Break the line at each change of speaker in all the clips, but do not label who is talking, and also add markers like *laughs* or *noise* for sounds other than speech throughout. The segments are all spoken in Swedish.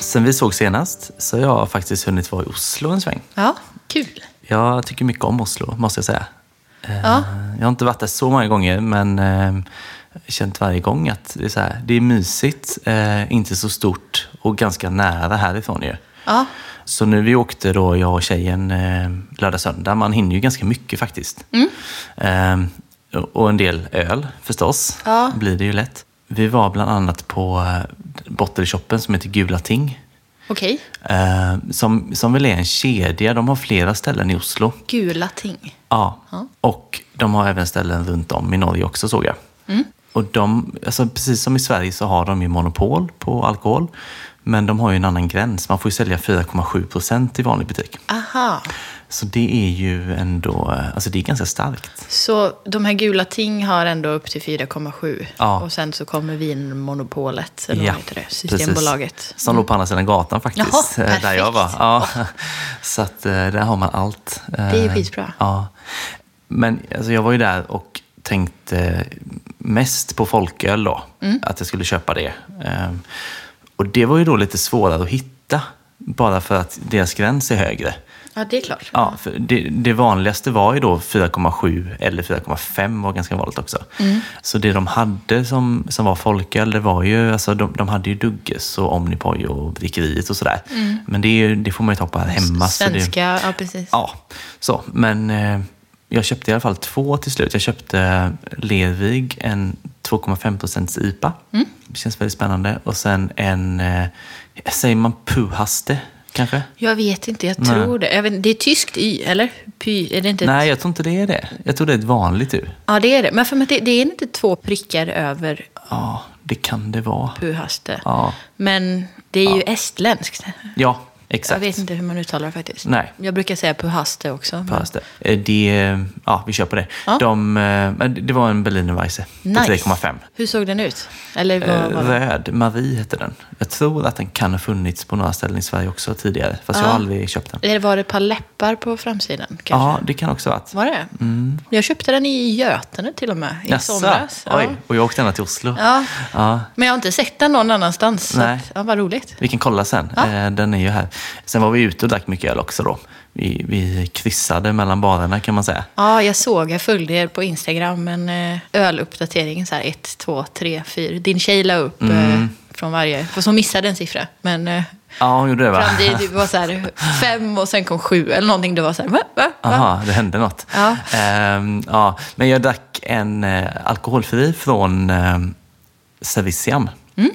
Sen vi såg senast så har jag faktiskt hunnit vara i Oslo en sväng.
Ja, kul.
Jag tycker mycket om Oslo, måste jag säga. Eh,
Ja.
Jag har inte varit där så många gånger, men eh, känt varje gång att det är, så här, det är mysigt, eh, inte så stort och ganska nära härifrån ju.
Ja,
Så nu vi åkte då, jag och tjejen, eh, lördag söndag, man hinner ju ganska mycket faktiskt.
Mm.
Eh, och en del öl förstås,
Ja.
blir det ju lätt. Vi var bland annat på eh, bottelshoppen som heter Gula Ting.
okej.
Eh, som, som väl är en kedja, de har flera ställen i Oslo.
Gula ting.
Ja. Och de har även ställen runt om i Norge också såg jag. Och de, alltså precis som i Sverige så har de ju monopol på alkohol. Men de har ju en annan gräns. Man får ju sälja 4,7 procent i vanlig butik.
Aha.
Så det är ju ändå, eh, alltså det är ganska starkt.
Så de här gula ting har ändå upp till 4,7.
Ja.
Och sen så kommer vinmonopolet, eller vad heter det?
precis.
Systembolaget.
Som låg på andra sidan gatan faktiskt,
Jaha,
eh, där jag var.
perfekt.
Ja. *laughs* Så att eh, där har man allt. Eh,
är ju skitbra.
Ja. Men alltså, jag var ju där och tänkte mest på folköl då.
Mm.
Att jag skulle köpa det. Eh, Och det var ju då lite svårare att hitta. Bara för att deras gräns är högre.
Ja, det är klart.
Ja, för det, det vanligaste var ju då 4,7 eller 4,5 var ganska vanligt också. Så det de hade som, som var folköl, det var ju, alltså de, de hade ju Dugges och Omnipoy och Vrickeriet och sådär. Men det, är ju, det får man ju ta på här hemma. så det-
Svenska, ja precis.
Ja, så. Men eh, jag köpte i alla fall två till slut. Jag köpte Lervig, en 2,5 IPA. Det känns väldigt spännande. Och sen en, eh, säger man Puhaste kanske?
Jag vet inte, jag tror det. Jag vet, det är tyskt y, eller? Py, är det inte ett-
Nej, jag tror inte det är det. Jag tror det är ett vanligt U.
Ja, det är det. Men för mig, det, det är inte två prickar över
Ja, det kan det vara.
puhaste.
Ja,
Men det är ju estländskt.
ja
Jag
exakt.
vet inte hur man uttalar det faktiskt.
Nej.
Jag brukar säga puhaste också. men-
Fast det- eh, Det, ja, vi kör på det.
Ja.
De, eh, men det var en Berliner Weisse på 3,5.
Hur såg den ut? Eller
Eh,
vad var det?
Röd, Marie heter den. Jag tror att den kan ha funnits på några ställen i Sverige också tidigare. Fast jag har aldrig köpt den.
Eller var det ett par läppar på framsidan? Kanske?
Ja, det kan också ha varit.
Var det? Jag köpte den i Götene till och med. I
Jaså?
somras. Ja.
Oj, och jag åkte ända till Oslo.
Ja.
Ja.
Men jag har inte sett den någon annanstans.
Nej.
Så att, ja, vad roligt.
Vi kan kolla sen. Eh, Den är ju här. Sen var vi ute och drack mycket öl också då. Vi, vi kryssade mellan barerna kan man säga.
Ja, jag såg, jag följde er på Instagram, en eh, öluppdatering så här 1, 2, 3, 4. Din tjej la upp
Mm.
eh, från varje, för så missade en siffra. Men eh,
Ja, hon gjorde det va?
fram till det var så här fem och sen kom sju eller någonting. Det var så här, va? va? va?
Aha, det hände något.
Ja.
Ehm, ja. Men jag drack en eh, alkoholfri från eh, Serviciam,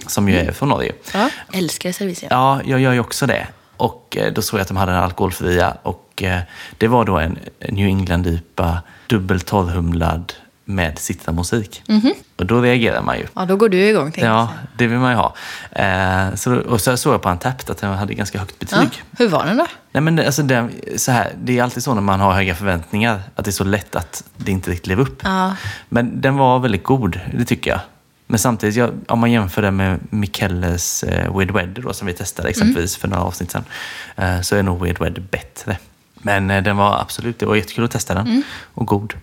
som ju är från Norge.
Mm. Ja. Älskar servisen.
Ja, jag gör ju också det. Och eh, då såg jag att de hade en alkoholfria och eh, det var då en New England-IPA, dubbel torrhumlad med sittamusik.
Mhm.
Och då reagerar man ju.
Ja, då går du igång. tänkte
Ja, det vill man ju ha. Eh, så, då- och så såg jag på Antapped att den hade ganska högt
jag.
betyg.
Ja. Hur var den då?
Nej, men det- alltså det, så här, det är alltid så när man har höga förväntningar, att det är så lätt att det inte riktigt lever upp.
Ja.
Men den var väldigt god, det tycker jag. Men samtidigt, jag, om man jämför det med Mikelles eh, Weird Weather då, som vi testade exempelvis för några avsnitt sedan, eh, så är nog Weird Weather bättre. Men eh, den var absolut, det var jättekul att testa den och god.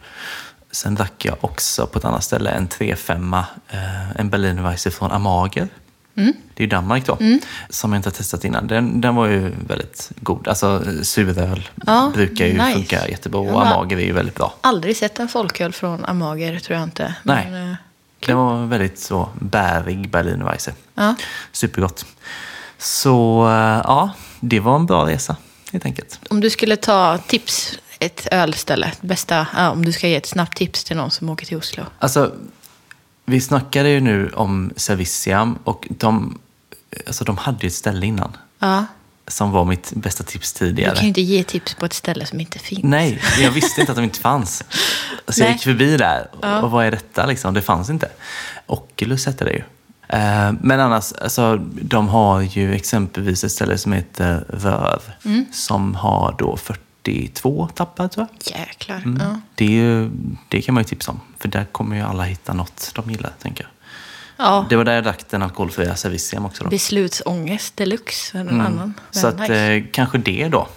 Sen drack jag också på ett annat ställe en 3-5, eh, en Berlinerweisse från Amager.
Mm.
Det är ju Danmark då, som jag inte har testat innan. Den, den var ju väldigt god. Alltså eh, suröl
Ja,
brukar ju
nice.
funka jättebra
Ja,
och
men-
Amager är ju väldigt bra.
Aldrig sett en folköl från Amager, tror jag inte.
Nej.
Men, eh,
Den var väldigt så bärig Berlinerweisse.
Ja.
Supergott. Så eh, ja, det var en bra resa helt enkelt.
om du skulle ta tips, ett ölställe, bästa, ja, om du ska ge ett snabbt tips till någon som åker till Oslo.
Alltså, vi snackade ju nu om Serviciam och de, alltså, de hade ju ett ställe innan
Ja.
som var mitt bästa tips
Du
tidigare.
kan ju inte ge tips på ett ställe som inte finns.
Nej, jag visste inte att de inte fanns. Så jag
Nej.
gick förbi där. Och, och vad är detta liksom? Det fanns inte. Oculus hette det ju. Eh, Men annars, alltså, de har ju exempelvis ett ställe som heter Röv.
Mm.
Som har då 42 tappar tror jag.
Jäklar.
Mm.
Ja.
Det, är ju, det kan man ju tipsa om. För där kommer ju alla hitta något de gillar, tänker jag.
Ja.
Det var där jag drack den alkoholfria Serviciam också. Då.
Beslutsångest deluxe för någon annan. Men
Mm. Så att,
nice.
eh, kanske det då.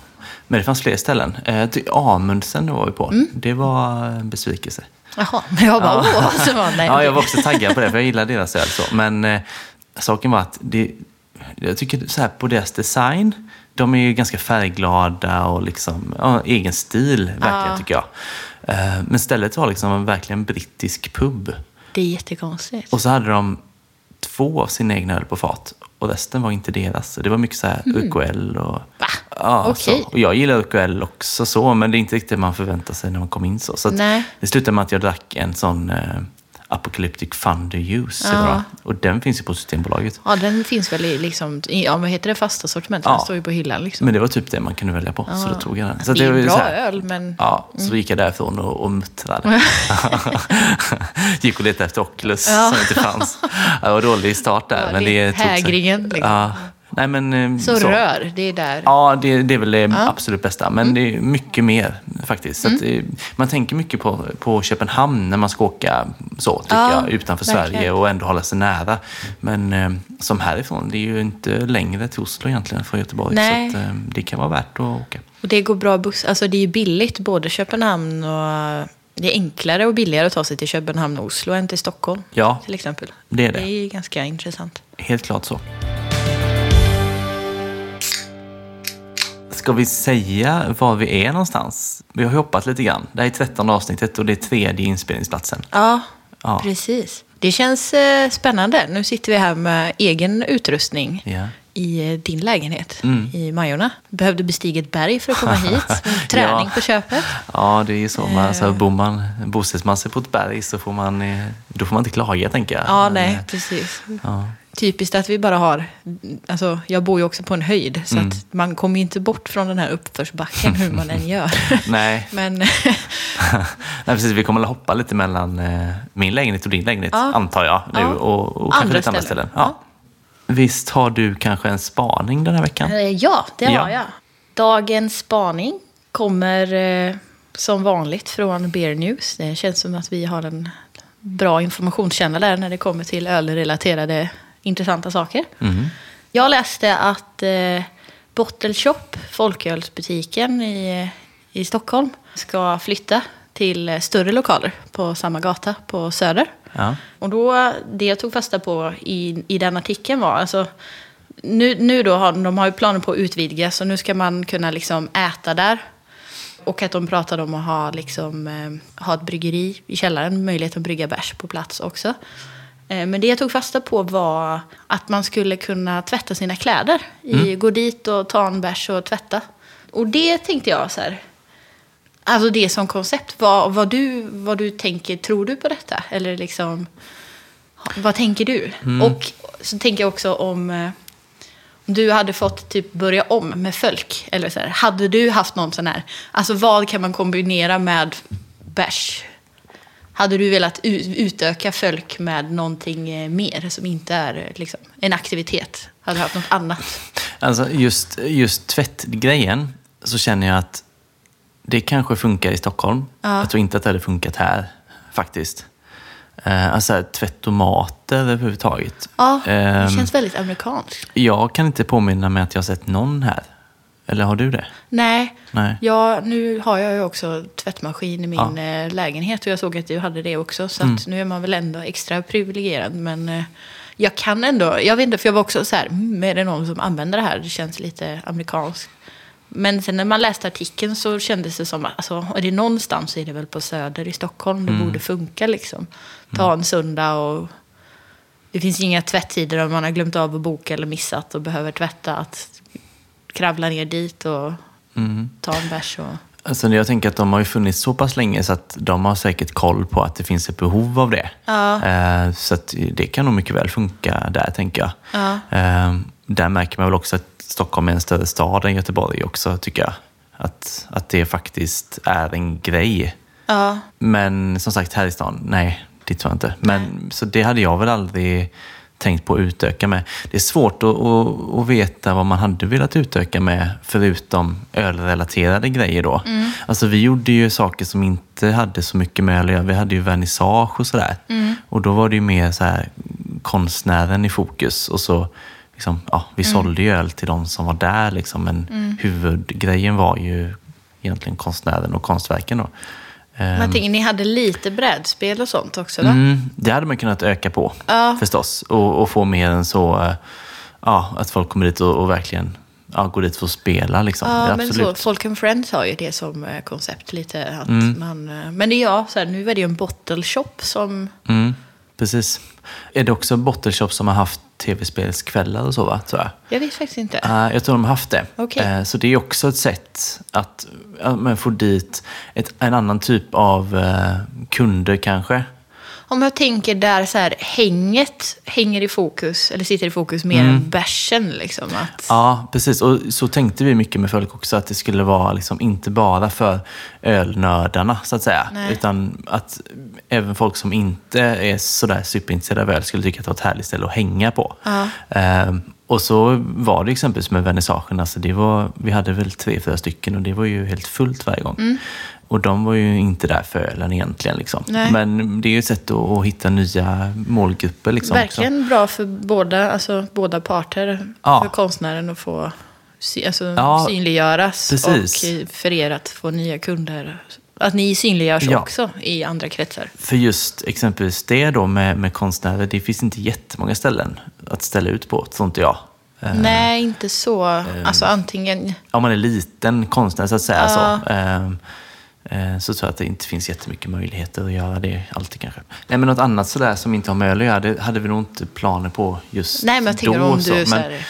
Men det fanns fler ställen. Eh, ty- Amundsen var vi på.
Mm.
Det var en besvikelse.
Jaha, men jag bara åh, *laughs*
*laughs*
vad som var nej.
ja, jag var också taggad på det, för jag gillar deras öl. Så. Men eh, saken var att det jag tycker så här på deras design, de är ju ganska färgglada och liksom, ja, egen stil verkligen
Ja.
tycker jag. Eh, Men stället var liksom en verkligen brittisk pub.
Det är jättekonstigt.
Och så hade de två av sina egna öl på fat och resten var inte deras. Så Det var mycket så här UKL och...
Mhm. Va?
Ja,
Okej.
så. Och jag gillar UKL också så, men det är inte riktigt det man förväntar sig när man kom in så. så att
Nej.
det slutade med att jag drack en sån eh, Apocalyptic Thunder Juice. eller
Ja.
vad. Och den finns ju på Systembolaget.
Ja, den finns väl i, liksom, i ja, vad heter det, fasta sortimentet?
Ja.
Den står ju på hyllan liksom. Alltså,
Men det var typ det man kunde välja på, så då tog jag den. Så
det är
var
en
ju
bra
så här-
öl, men... Mm.
Ja, så då gick jag därifrån och, och
*laughs*
muttrade. *laughs* gick och letade efter Oculus
Ja.
som inte fanns. Det var dålig start där.
Ja,
men
det
det
är
tog sig.
hägringen, liksom.
Ja. Nej, men, eh,
Så, rör, Mm. det är där.
Ja, det, det är väl det absolut bästa. Men det är mycket mer faktiskt. Så att,
Mm.
eh, man tänker mycket på, på Köpenhamn när man ska åka så, tycker
Ja,
jag, utanför
verkligen.
Sverige och ändå hålla sig nära. Men eh, som härifrån, det är ju inte längre till Oslo egentligen från Göteborg.
Nej.
Så att, eh, det kan vara värt att åka.
Och det går bra buss. Alltså det är ju billigt, både Köpenhamn och... Det är enklare och billigare att ta sig till Köpenhamn och Oslo än till Stockholm.
Ja.
Till exempel.
Det är det.
Det är ju ganska intressant.
Helt klart så. Ska vi säga var vi är någonstans? Vi har hoppat lite grann. Det här är 13 avsnittet och det är tredje inspelningsplatsen.
Ja,
Ja.
precis. Det känns eh, spännande. Nu sitter vi här med egen utrustning
Ja. Mm.
i eh, din lägenhet i Majorna. Behövde bestiga ett berg för
*laughs*
att komma hit. Träning
Ja.
på köpet.
Ja, det är ju så. Man,
Eh.
så bor man, bosätter man sig på ett berg så får man, eh, då får man inte klaga, tänker jag.
Ja,
Men,
nej,
eh,
precis.
Ja.
Typiskt att vi bara har, alltså jag bor ju också på en höjd, så
Mm.
att man kommer ju inte bort från den här uppförsbacken hur man än gör.
*laughs* Nej.
Men *laughs*
eh, *laughs* nej, precis. Vi kommer att hoppa lite mellan eh, min lägenhet och din lägenhet,
Ja.
antar jag. Nu,
Ja.
och, och kanske
Andra
lite andra
ställen.
ställen. Ja. Visst har du kanske en spaning den här veckan?
eh, ja, det
Ja.
har jag. Dagens spaning kommer eh, som vanligt från Beer News. Det känns som att vi har en bra informationskälla där när det kommer till ölrelaterade intressanta saker.
Mhm.
Jag läste att eh, Bottle Shop, folkölsbutiken i, i Stockholm, ska flytta till eh, större lokaler på samma gata på Söder.
Ja.
Och då, det jag tog fasta på i, i den artikeln var, alltså, nu, nu då har de har ju planer på att utvidga, så nu ska man kunna liksom äta där. Och att de pratade om att ha, liksom, eh, ha ett bryggeri i källaren, möjlighet att brygga bärs på plats också. Eh, Men det jag tog fasta på var att man skulle kunna tvätta sina kläder. I, gå dit och ta en bärs och tvätta. Och det tänkte jag så här, Alltså det som koncept, vad, vad, du, vad du tänker, tror du på detta? Eller liksom, vad tänker du? Och så tänker jag också om, eh, om du hade fått typ börja om med folk. Eller så här, hade du haft någon sån här, alltså vad kan man kombinera med bärs? Hade du velat u- utöka folk med någonting eh, mer som inte är eh, liksom, en aktivitet? Hade du haft något annat?
Alltså just, just tvättgrejen så känner jag att det kanske funkar i Stockholm. Jag tror inte att det hade funkat här faktiskt. Eh, alltså här, tvättomater överhuvudtaget.
Ja, det
Ehm,
känns väldigt amerikanskt.
Jag kan inte påminna mig att jag har sett någon här. Eller har du det?
Nej.
Nej.
Ja, nu har jag ju också tvättmaskin i min eh, lägenhet och jag såg att du hade det också. Så att nu är man väl ändå extra privilegierad. Men eh, jag kan ändå, jag vet inte, för jag var också så här, "Mm, är det någon som använder det här? Det känns lite amerikanskt. Men sen när man läste artikeln så kändes det som att alltså, är det någonstans så är det väl på Söder i Stockholm det borde funka liksom. Ta en söndag och det finns inga tvättider om man har glömt av att boka eller missat och behöver tvätta. Att kravla ner dit och
Mm.
ta en bärs. Och...
Alltså jag tänker att de har ju funnits så pass länge så att de har säkert koll på att det finns ett behov av det. Eh, Så att det kan nog mycket väl funka där, tänker jag. Eh, Där märker man väl också att Stockholm är en större stad än Göteborg också, tycker jag. Att, att det faktiskt är en grej.
Ja.
Men som sagt, här i stan, nej, det tror jag inte. Men, Så det hade jag väl aldrig tänkt på att utöka med. Det är svårt att, att, att veta vad man hade velat utöka med, förutom ölrelaterade grejer då. Alltså vi gjorde ju saker som inte hade så mycket med öl att göra. Vi hade ju vernissage och sådär. Och då var det ju mer så här, konstnären i fokus. Och så, liksom, ja, vi sålde ju öl till de som var där, liksom, men huvudgrejen var ju egentligen konstnären och konstverken. Då. Eh,
Men
Ehm.
jag tänker, ni hade lite brädspel och sånt också va?
Mm, det hade man kunnat öka på
Ja.
förstås och, och få mer än så. eh, ja, att folk kommer dit och, och verkligen ja, går dit för att spela. Liksom.
Ja,
Det är
men så,
absolut.
Folk and Friends har ju det som eh, koncept lite. Att
Mm.
man, eh, men det är ja, så här, nu är det ju en bottle shop som...
Mm, precis. Är det också Bottle Shop som har haft tv-spelskvällar och så, va? tror jag?
Jag vet faktiskt inte.
Eh, jag tror de har haft det.
Okej.
Eh, så det är också ett sätt att ja, men få dit ett, en annan typ av eh, kunder kanske.
Om jag tänker där så här, hänget hänger i fokus, eller sitter i fokus mer
Mm.
än bärsen. Liksom, att,
Ja, precis. Och så tänkte vi mycket med folk också, att det skulle vara liksom inte bara för ölnördarna, så att säga.
Nej.
Utan att även folk som inte är sådär superintresserade av öl skulle tycka att det var ett härligt ställe att hänga på.
Ja.
Ehm, och så var det exempelvis med vernissagen, alltså det var, vi hade väl tre, fyra stycken och det var ju helt fullt varje gång.
Mm.
Och de var ju inte där för ölen egentligen. Liksom.
Nej.
Men det är ju ett sätt att, att hitta nya målgrupper. Liksom, också.
verkligen bra för båda, alltså, båda parter.
Ja.
För konstnären att få sy, alltså,
Ja,
synliggöras
precis.
och eh, för er att få nya kunder. Att ni synliggörs
Ja.
också i andra kretsar.
För just exempelvis det då med, med konstnärer, det finns inte jättemånga ställen att ställa ut på, tror inte jag. Eh,
Nej, inte så. alltså antingen...
Om man är liten konstnär så att säga
Ja.
så, eh, eh, så tror jag att det inte finns jättemycket möjligheter att göra det alltid kanske. Nej, men något annat sådär som inte har med öl att göra, det hade vi nog inte planer på just
Nej, men jag tänker
då.
om du
så.
så,
Men-
här,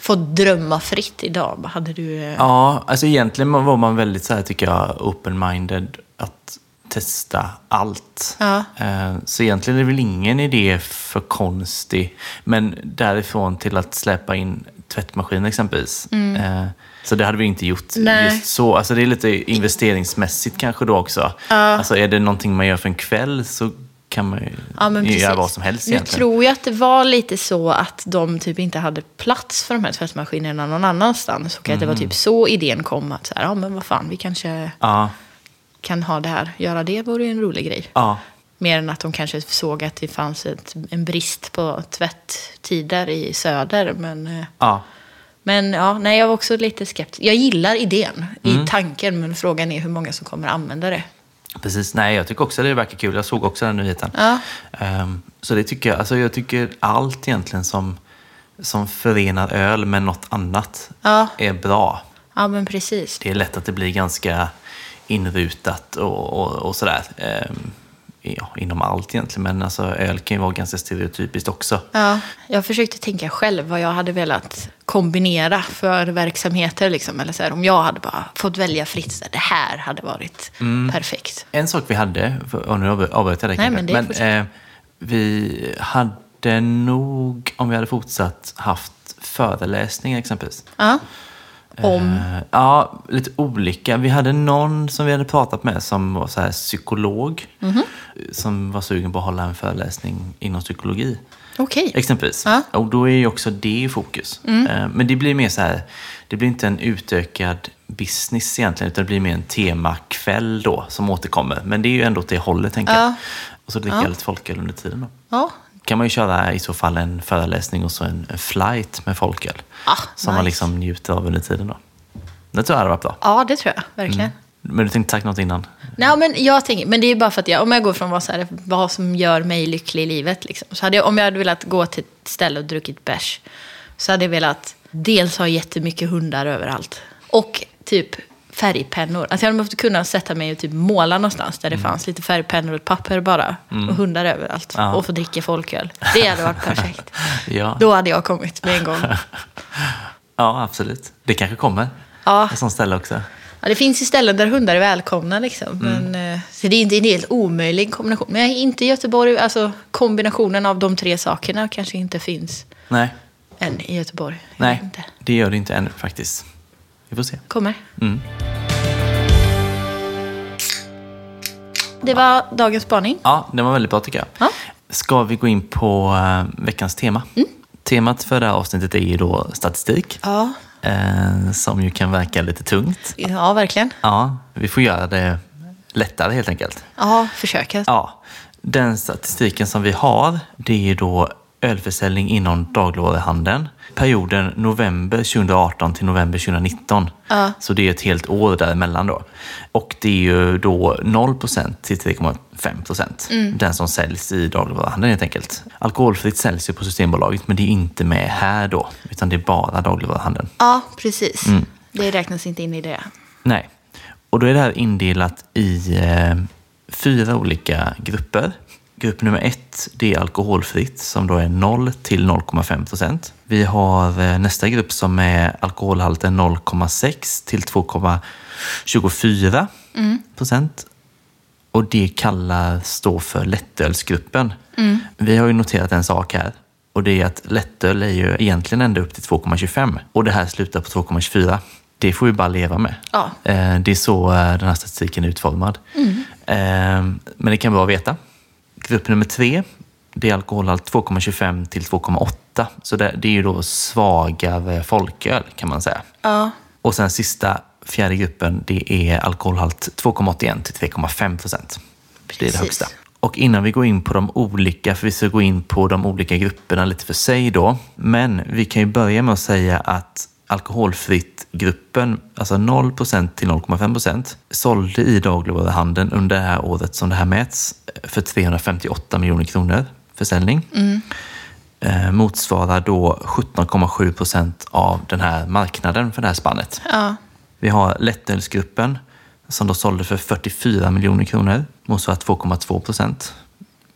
får drömma fritt idag. vad Hade du... eh,
Ja, alltså egentligen var man väldigt så här tycker jag open-minded att testa allt.
Ja.
Eh, Så egentligen är det väl ingen idé för konstig. Men därifrån till att släppa in tvättmaskiner exempelvis. Eh, Så det hade vi inte gjort
Mm. Nej.
just så. Alltså det är lite investeringsmässigt kanske då också. Alltså är det någonting man gör för en kväll så kan man ju
Ja, men precis.
göra vad som helst
nu
egentligen.
tror jag att det var lite så att de typ inte hade plats för de här tvättmaskinerna någon annanstans. Och att det var
Mm.
typ så idén kom att så här, ja men vad fan, vi kanske
Ja,
kan ha det här. Göra det vore ju en rolig grej.
ja,
Mer än att de kanske såg att det fanns ett, en brist på tvätttider i söder. Men, eh,
ja.
men ja, nej, jag var också lite skeptisk. Jag gillar idén i tanken, men frågan är hur många som kommer använda det.
Precis, nej jag tycker också det verkar kul. Jag såg också den nyheten.
Ja.
Ehm, så det tycker jag, alltså jag tycker allt egentligen som, som förenar öl med något annat
Ja.
är bra.
Ja, men precis.
Det är lätt att det blir ganska inrutat och, och, och sådär. Ehm, ja, inom allt egentligen, men alltså, öl kan ju vara ganska stereotypiskt också.
Ja, jag försökte tänka själv vad jag hade velat kombinera för verksamheter. Liksom. Eller så här, om jag hade bara fått välja fritt, så här, det här hade varit perfekt.
En sak vi hade, och nu avbry- avbröt jag dig
Nej,
kanske,
men det är fortsätt.
eh, vi hade nog, om vi hade fortsatt, haft föreläsningar exempelvis.
Ja. Om,
Eh, Ja, lite olika. Vi hade någon som vi hade pratat med som var så här psykolog.
Mhm.
Som var sugen på att hålla en föreläsning inom psykologi.
okej.
Exempelvis.
Ja. Mm.
Och då är ju också det i fokus. Eh, Men det blir mer så här, det blir inte en utökad business egentligen, utan det blir mer en temakväll då som återkommer. Men det är ju ändå åt det hållet, tänker jag.
Ja.
Och så dricker jag lite folköl under tiden då.
Ja.
Kan man ju köra i så fall en föreläsning och så en, en flight med folköl.
Ah,
som man
nice.
liksom njuter av under tiden då. Det tror jag hade varit bra.
ja, det tror jag verkligen.
Men du tänkte sagt något
*laughs*
innan?
Nej, men jag tänker, men det är bara för att jag, om jag går från vad, så här, vad som gör mig lycklig i livet, liksom, så hade jag, om jag hade velat gå till ett ställe och druckit bärs, så hade jag velat dels ha jättemycket hundar överallt och typ färgpennor. Alltså jag hade behövt kunna sätta mig och typ måla någonstans där det fanns lite färgpennor och ett papper bara och hundar överallt
Ja.
och få dricka folköl. Det hade varit perfekt.
Ja.
Då hade jag kommit med en gång.
ja, absolut. Det kanske kommer.
Ja.
Ett sånt ställe också.
Ja, det finns ju ställen där hundar är välkomna.
Mm.
Liksom. Men, eh, så det är inte en helt omöjlig kombination. Men jag är inte i Göteborg. Alltså, kombinationen av de tre sakerna kanske inte finns
Nej,
än i Göteborg. Jag
Nej.
vet Inte.
det gör det inte ännu faktiskt. Vi får se.
Kommer.
Mm.
Det var dagens spaning.
Ja, det var väldigt bra tycker jag.
Ja. Mm.
Ska vi gå in på eh, veckans tema? Temat för det här avsnittet är ju då statistik.
Ja,
Eh, som ju kan verka lite tungt.
ja verkligen.
Ja, vi får göra det lättare helt enkelt.
Ja, försöket.
Ja, den statistiken som vi har, det är ju då ölförsäljning inom dagligvaruhandeln perioden november 2018 till november 2019.
Ja.
Så det är ett helt år däremellan då. Och det är ju då 0% till 3,5% den som säljs i dagligvaruhandeln helt enkelt. Alkoholfritt säljs ju på Systembolaget men det är inte med här då, utan det är bara dagligvaruhandeln.
Ja, precis.
Mm.
Det räknas inte in i det.
Nej. Och då är det här indelat i eh, fyra olika grupper. Grupp nummer ett, det är alkoholfritt som då är 0 till 0,5 procent. Vi har eh, nästa grupp som är alkoholhalten 0,6 till 2,24 procent. Och det kallas då för lättölsgruppen. Vi har ju noterat en sak här. Och det är att lättöl är ju egentligen ända upp till 2,25. Och det här slutar på 2,24. Det får vi bara leva med.
Ja.
Eh, Det är så eh, den här statistiken är utformad. Eh, Men det kan vara att veta. Grupp nummer tre, det är alkoholhalt 2,25 till 2,8. Så det det är ju då svagare folköl kan man säga.
Ja,
Och sen sista, fjärde gruppen, det är alkoholhalt 2,81 till 3,5 procent. Det är det
Precis.
högsta. Och innan vi går in på de olika, för vi ska gå in på de olika grupperna lite för sig då. Men vi kan ju börja med att säga att alkoholfritt-gruppen, alltså 0 till 0,5 procent, sålde i dagligvaruhandeln under det här året som det här mäts eh, för 358 miljoner kronor försäljning. Eh, motsvarar då 17,7 procent av den här marknaden för det här spannet.
ja,
Vi har lättölsgruppen som då sålde för 44 miljoner kronor, motsvarar 2,2 procent.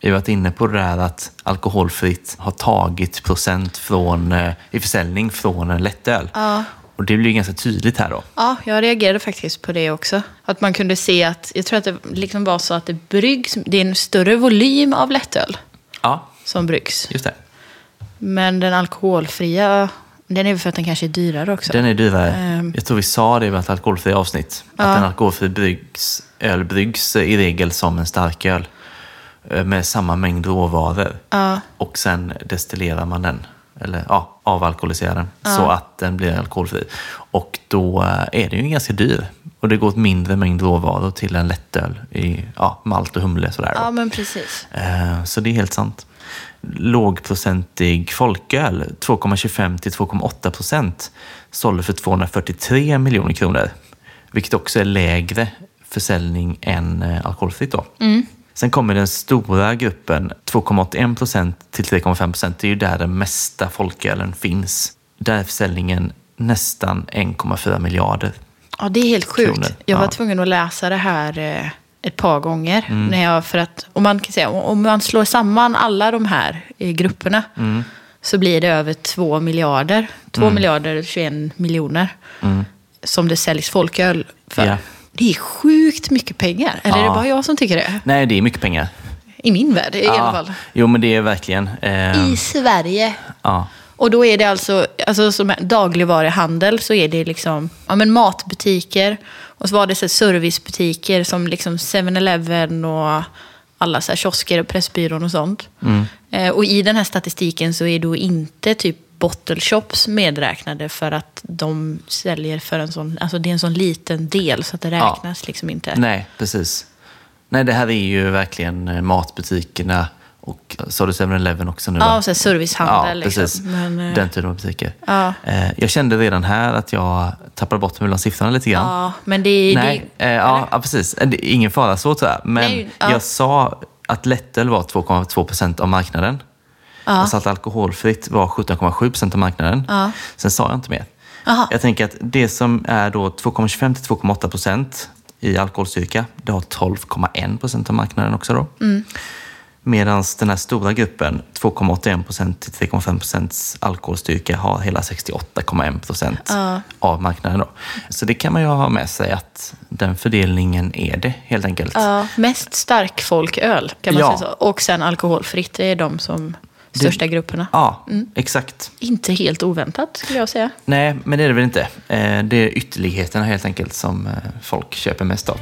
Vi har varit inne på det där att alkoholfritt har tagit procent från, eh, i försäljning från en lättöl. Och det blir ju ganska tydligt här då.
ja, jag reagerade faktiskt på det också. Att man kunde se att, jag tror att det liksom var så att det bryggs, det är en större volym av lättöl
Ja,
som bryggs.
just det.
Men den alkoholfria, den är väl för att den kanske är dyrare också.
Den är dyrare.
Ehm.
Jag tror vi sa det i ett alkoholfritt avsnitt. Att en alkoholfri bryggs, öl bryggs i regel som en starköl. eh, Med samma mängd råvaror.
Ja.
Och sen destillerar man den. Eller ja, avalkoholiserar den. Så att den blir alkoholfri. Och då eh, är den ju ganska dyr. Och det går åt mindre mängd råvaror till en lättöl i ja, malt och humle. Sådär då.
Ja, men precis.
Eh, Så det är helt sant. Lågprocentig folköl, 2,25 till 2,8 procent, sålde för 243 miljoner kronor. Vilket också är lägre försäljning än eh, alkoholfritt. Då.
Mm.
Sen kommer den stora gruppen, 2,81 procent till 3,5 procent. Det är ju där den mesta folkölen finns. Där är försäljningen nästan 1,4 miljarder.
Ja, det är helt sjukt.
Kronor,
Jag var
ja. Mm.
tvungen att läsa det här eh, ett par gånger. När jag, för att, om, man kan säga, om man slår samman alla de här eh, grupperna
Mm.
så blir det över 2 miljarder. 2 miljarder 21 miljoner som det säljs folköl för.
Mm. Ja.
Det är sjukt mycket pengar. Eller är det
Ja.
bara jag som tycker det?
Nej, det är mycket pengar.
I min värld i alla fall.
Jo, men det är verkligen... Eh,
I Sverige.
ja.
Och då är det alltså, alltså som dagligvaruhandel så är det liksom ja, men matbutiker och så var det så här servicebutiker som liksom 7-Eleven och alla så här kiosker och Pressbyrån och sånt.
Mm.
Eh, och i den här statistiken så är då inte typ bottle shops medräknade för att de säljer för en sån, alltså det är en sån liten del så att det
Ja.
räknas liksom *laughs* inte.
Nej, precis. Nej, det här är ju verkligen eh, matbutikerna och eh, sa du 7-Eleven också nu?
Ja,
va?
och så här servicehandel.
Ja, precis.
Liksom. Men, eh,
Den typen av butiker.
Ja.
Eh, Jag kände redan här att jag tappade bort mig bland siffrorna lite grann.
ja, men det är...
Nej,
det-
eh, ja, ja, precis. Eh, det är Ingen fara så tror jag. Men
Nej, ja.
jag sa att lättöl var 2,2 procent av marknaden. Alltså att alkoholfritt var 17,7 procent av marknaden. Sen sa jag inte mer.
Aha.
Jag tänker att det som är då 2,25 till 2,8 procent i alkoholstyrka, det har 12,1 procent av marknaden också då. Medan den här stora gruppen, 2,81 procent till 3,5 procents alkoholstyrka, har hela 68,1 procent av marknaden. Då. Så det kan man ju ha med sig att den fördelningen är det helt enkelt.
Ja, mest stark folköl kan man
Ja.
säga så. Och sen alkoholfritt, det är de som största grupperna.
Ja, exakt.
Inte helt oväntat skulle jag säga.
Nej, men det är det väl inte. Eh, Det är ytterligheterna helt enkelt som eh, folk köper mest av.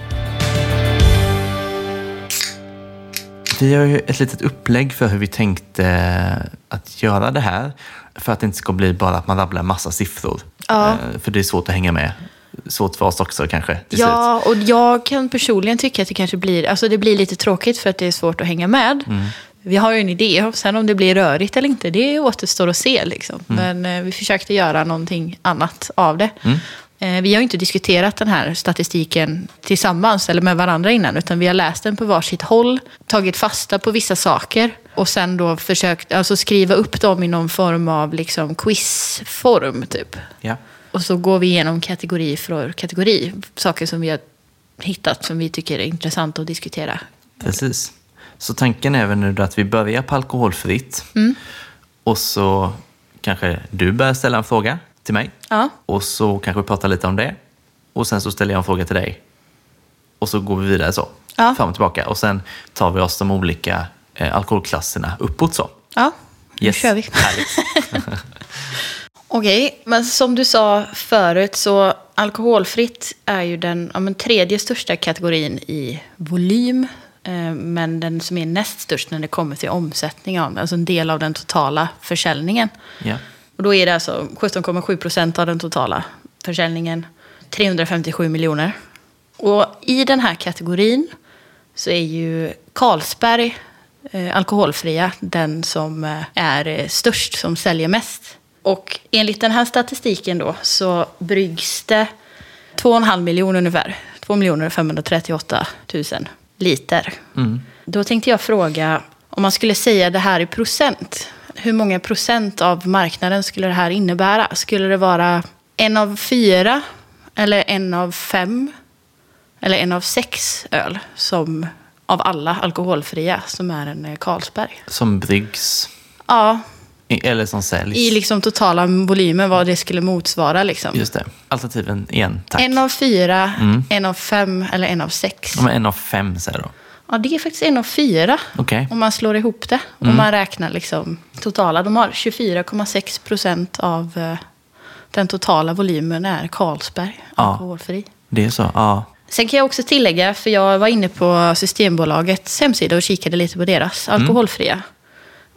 Vi har ju ett litet upplägg för hur vi tänkte eh, att göra det här. För att det inte ska bli bara att man rabblar en massa siffror.
Ja.
Eh, För det är svårt att hänga med. Svårt för oss också kanske till slut.
Ja, och jag kan personligen tycka att det kanske blir, alltså det blir lite tråkigt för att det är svårt att hänga med. vi har ju en idé. Sen om det blir rörigt eller inte, det återstår att se. Liksom. Men eh, vi försökte göra någonting annat av det. Eh, vi har ju inte diskuterat den här statistiken tillsammans eller med varandra innan, utan vi har läst den på varsitt håll, tagit fasta på vissa saker och sen då försökt alltså, skriva upp dem i någon form av liksom, quizform. Typ.
Ja.
Och så går vi igenom kategori för kategori, saker som vi har hittat som vi tycker är intressant att diskutera.
Precis. Så tanken är väl nu då att vi börjar på alkoholfritt.
Mm.
Och så kanske du börjar ställa en fråga till mig.
Ja.
Och så kanske vi pratar lite om det. Och sen så ställer jag en fråga till dig. Och så går vi vidare så.
Ja.
Fram och tillbaka. Och sen tar vi oss de olika eh, alkoholklasserna uppåt så.
Ja, nu kör vi.
Härligt.
*laughs* Okej, men som du sa förut så alkoholfritt är ju den ja, men tredje största kategorin i volym. eh, Men den som är näst störst när det kommer till omsättning, av, alltså en del av den totala försäljningen.
Ja.
Och då är det alltså 17,7 procent av den totala försäljningen, 357 miljoner. Och i den här kategorin så är ju Carlsberg eh, alkoholfria den som eh, är eh, störst, som säljer mest. Och enligt den här statistiken då så bryggs det 2,5 miljoner ungefär, 2 538 000 liter. Då tänkte jag fråga, om man skulle säga det här i procent, hur många procent av marknaden skulle det här innebära? Skulle det vara en av fyra, eller en av fem, eller en av sex öl som av alla alkoholfria som är en eh, Carlsberg?
Som bryggs.
Ja,
I- Eller som säljs.
i liksom totala volymen vad det skulle motsvara. Liksom.
Just det. Alternativen igen, tack.
En av fyra, en av fem eller en av sex.
Ja, men en av fem säger jag då.
Ja, det är faktiskt en av fyra.
Okej. Mm.
Om man slår ihop det. Om man räknar liksom totala. De har 24,6 procent av eh, den totala volymen är Carlsberg.
Ja.
Alkoholfri.
Det är så. Ja.
Sen kan jag också tillägga, för jag var inne på Systembolagets hemsida och kikade lite på deras
Mm.
alkoholfria.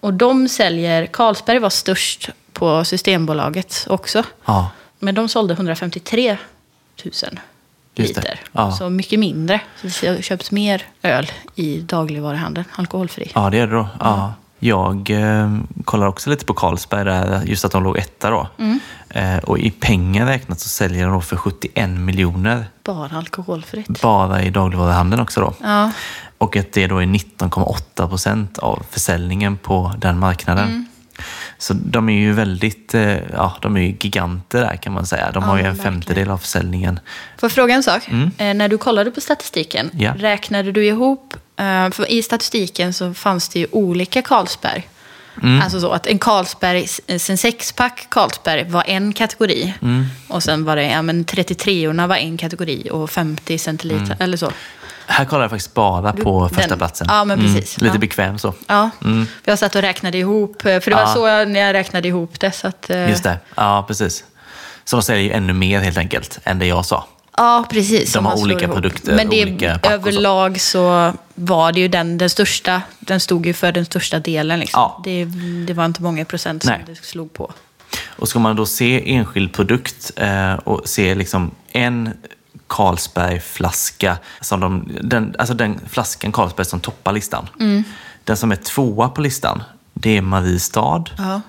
Och de säljer, Carlsberg var störst på Systembolaget också.
ja.
Men de sålde 153 000
Just det.
liter.
Ja.
Så mycket mindre. Så det köps mer öl i dagligvaruhandeln, alkoholfri.
Ja, det är det då.
Mm.
Ja. Jag eh, kollar också lite på Carlsberg, där, just att de låg etta då.
Mm.
Eh, och i pengar räknat så säljer de då för 71 miljoner
Bara alkoholfritt.
bara i dagligvaruhandeln också då.
Ja.
Och att det då är 19,8 procent av försäljningen på den marknaden.
Mm.
Så de är ju väldigt, eh, ja, de är ju giganter där kan man säga. De har ju en
verkligen.
femtedel av försäljningen.
Får jag fråga en sak? Eh, när du kollade på statistiken,
Mm. Ja.
räknade du ihop... Eh, för I statistiken så fanns det ju olika Carlsberg.
Mm.
Alltså så att en Carlsberg, en sexpack Carlsberg var en kategori.
Mm.
Och sen var det, ja men 33orna var en kategori och 50 centiliter
Mm.
eller så.
Här kollar jag faktiskt bara på
den-
första platsen. Mm.
ja, men precis.
Lite
Ja.
bekväm så.
Ja, för jag satt och räknade ihop, eh, för det var
Mm. Ja.
så jag, när jag räknade ihop det. Så att, eh,
Just det, ja precis. Så de säljer ju ännu mer helt enkelt än det jag sa.
Ja, precis.
De
om
har
man slår
olika
ihop.
produkter,
Men det,
olika pack och så.
överlag så var det ju den, den största, den stod ju för den största delen. Liksom.
Ja.
Det, det var inte många procent som
Nej.
det slog på.
Och ska man då se enskild produkt eh, och se liksom en Carlsbergflaska, som de, den, alltså den flaskan Carlsberg som toppar listan. Den som är tvåa på listan, det är Mariestad.
Ja.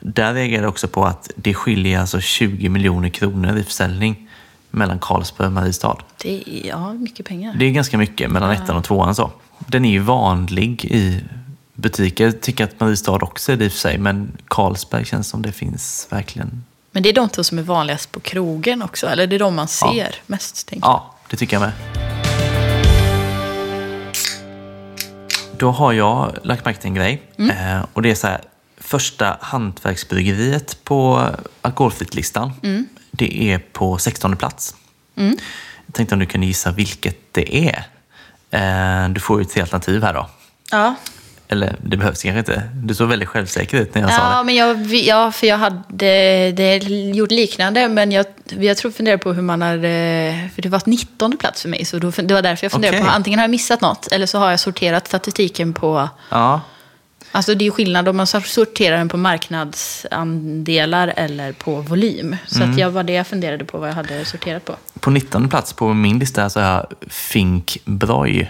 Där reagerar jag också på att det skiljer alltså 20 miljoner kronor i försäljning mellan Carlsberg och Mariestad.
Det är ja, mycket pengar.
Det är ganska mycket mellan ettan och tvåan. så. Den är ju vanlig i butiker. Jag tycker att Mariestad också är det i och för sig, men Carlsberg känns som det finns verkligen.
Men det är de två som är vanligast på krogen också, eller det är de man ser
Ja.
mest. Tänker jag.
Ja, det tycker jag med. Då har jag lagt märke till en grej. Eh, och det är så här, första hantverksbryggeriet på alkoholfritt-listan, det är på 16 plats. Jag tänkte om du kunde gissa vilket det är. Eh, du får ju ett alternativ här då.
Ja.
Eller det behövs kanske inte. Du såg väldigt självsäker ut när jag sa
Ja,
det.
men jag, ja, för jag hade det gjort liknande, men jag, jag tror funderar på hur man hade... För det var 19 plats för mig, så då, det var därför jag funderade
Okej.
på antingen har jag missat något, eller så har jag sorterat statistiken på...
Ja,
Alltså det är ju skillnad om man sorterar den på marknadsandelar eller på volym. Så
Mm.
att jag var det jag funderade på vad jag hade sorterat på.
på 19 plats på min lista så har jag Fink Broy.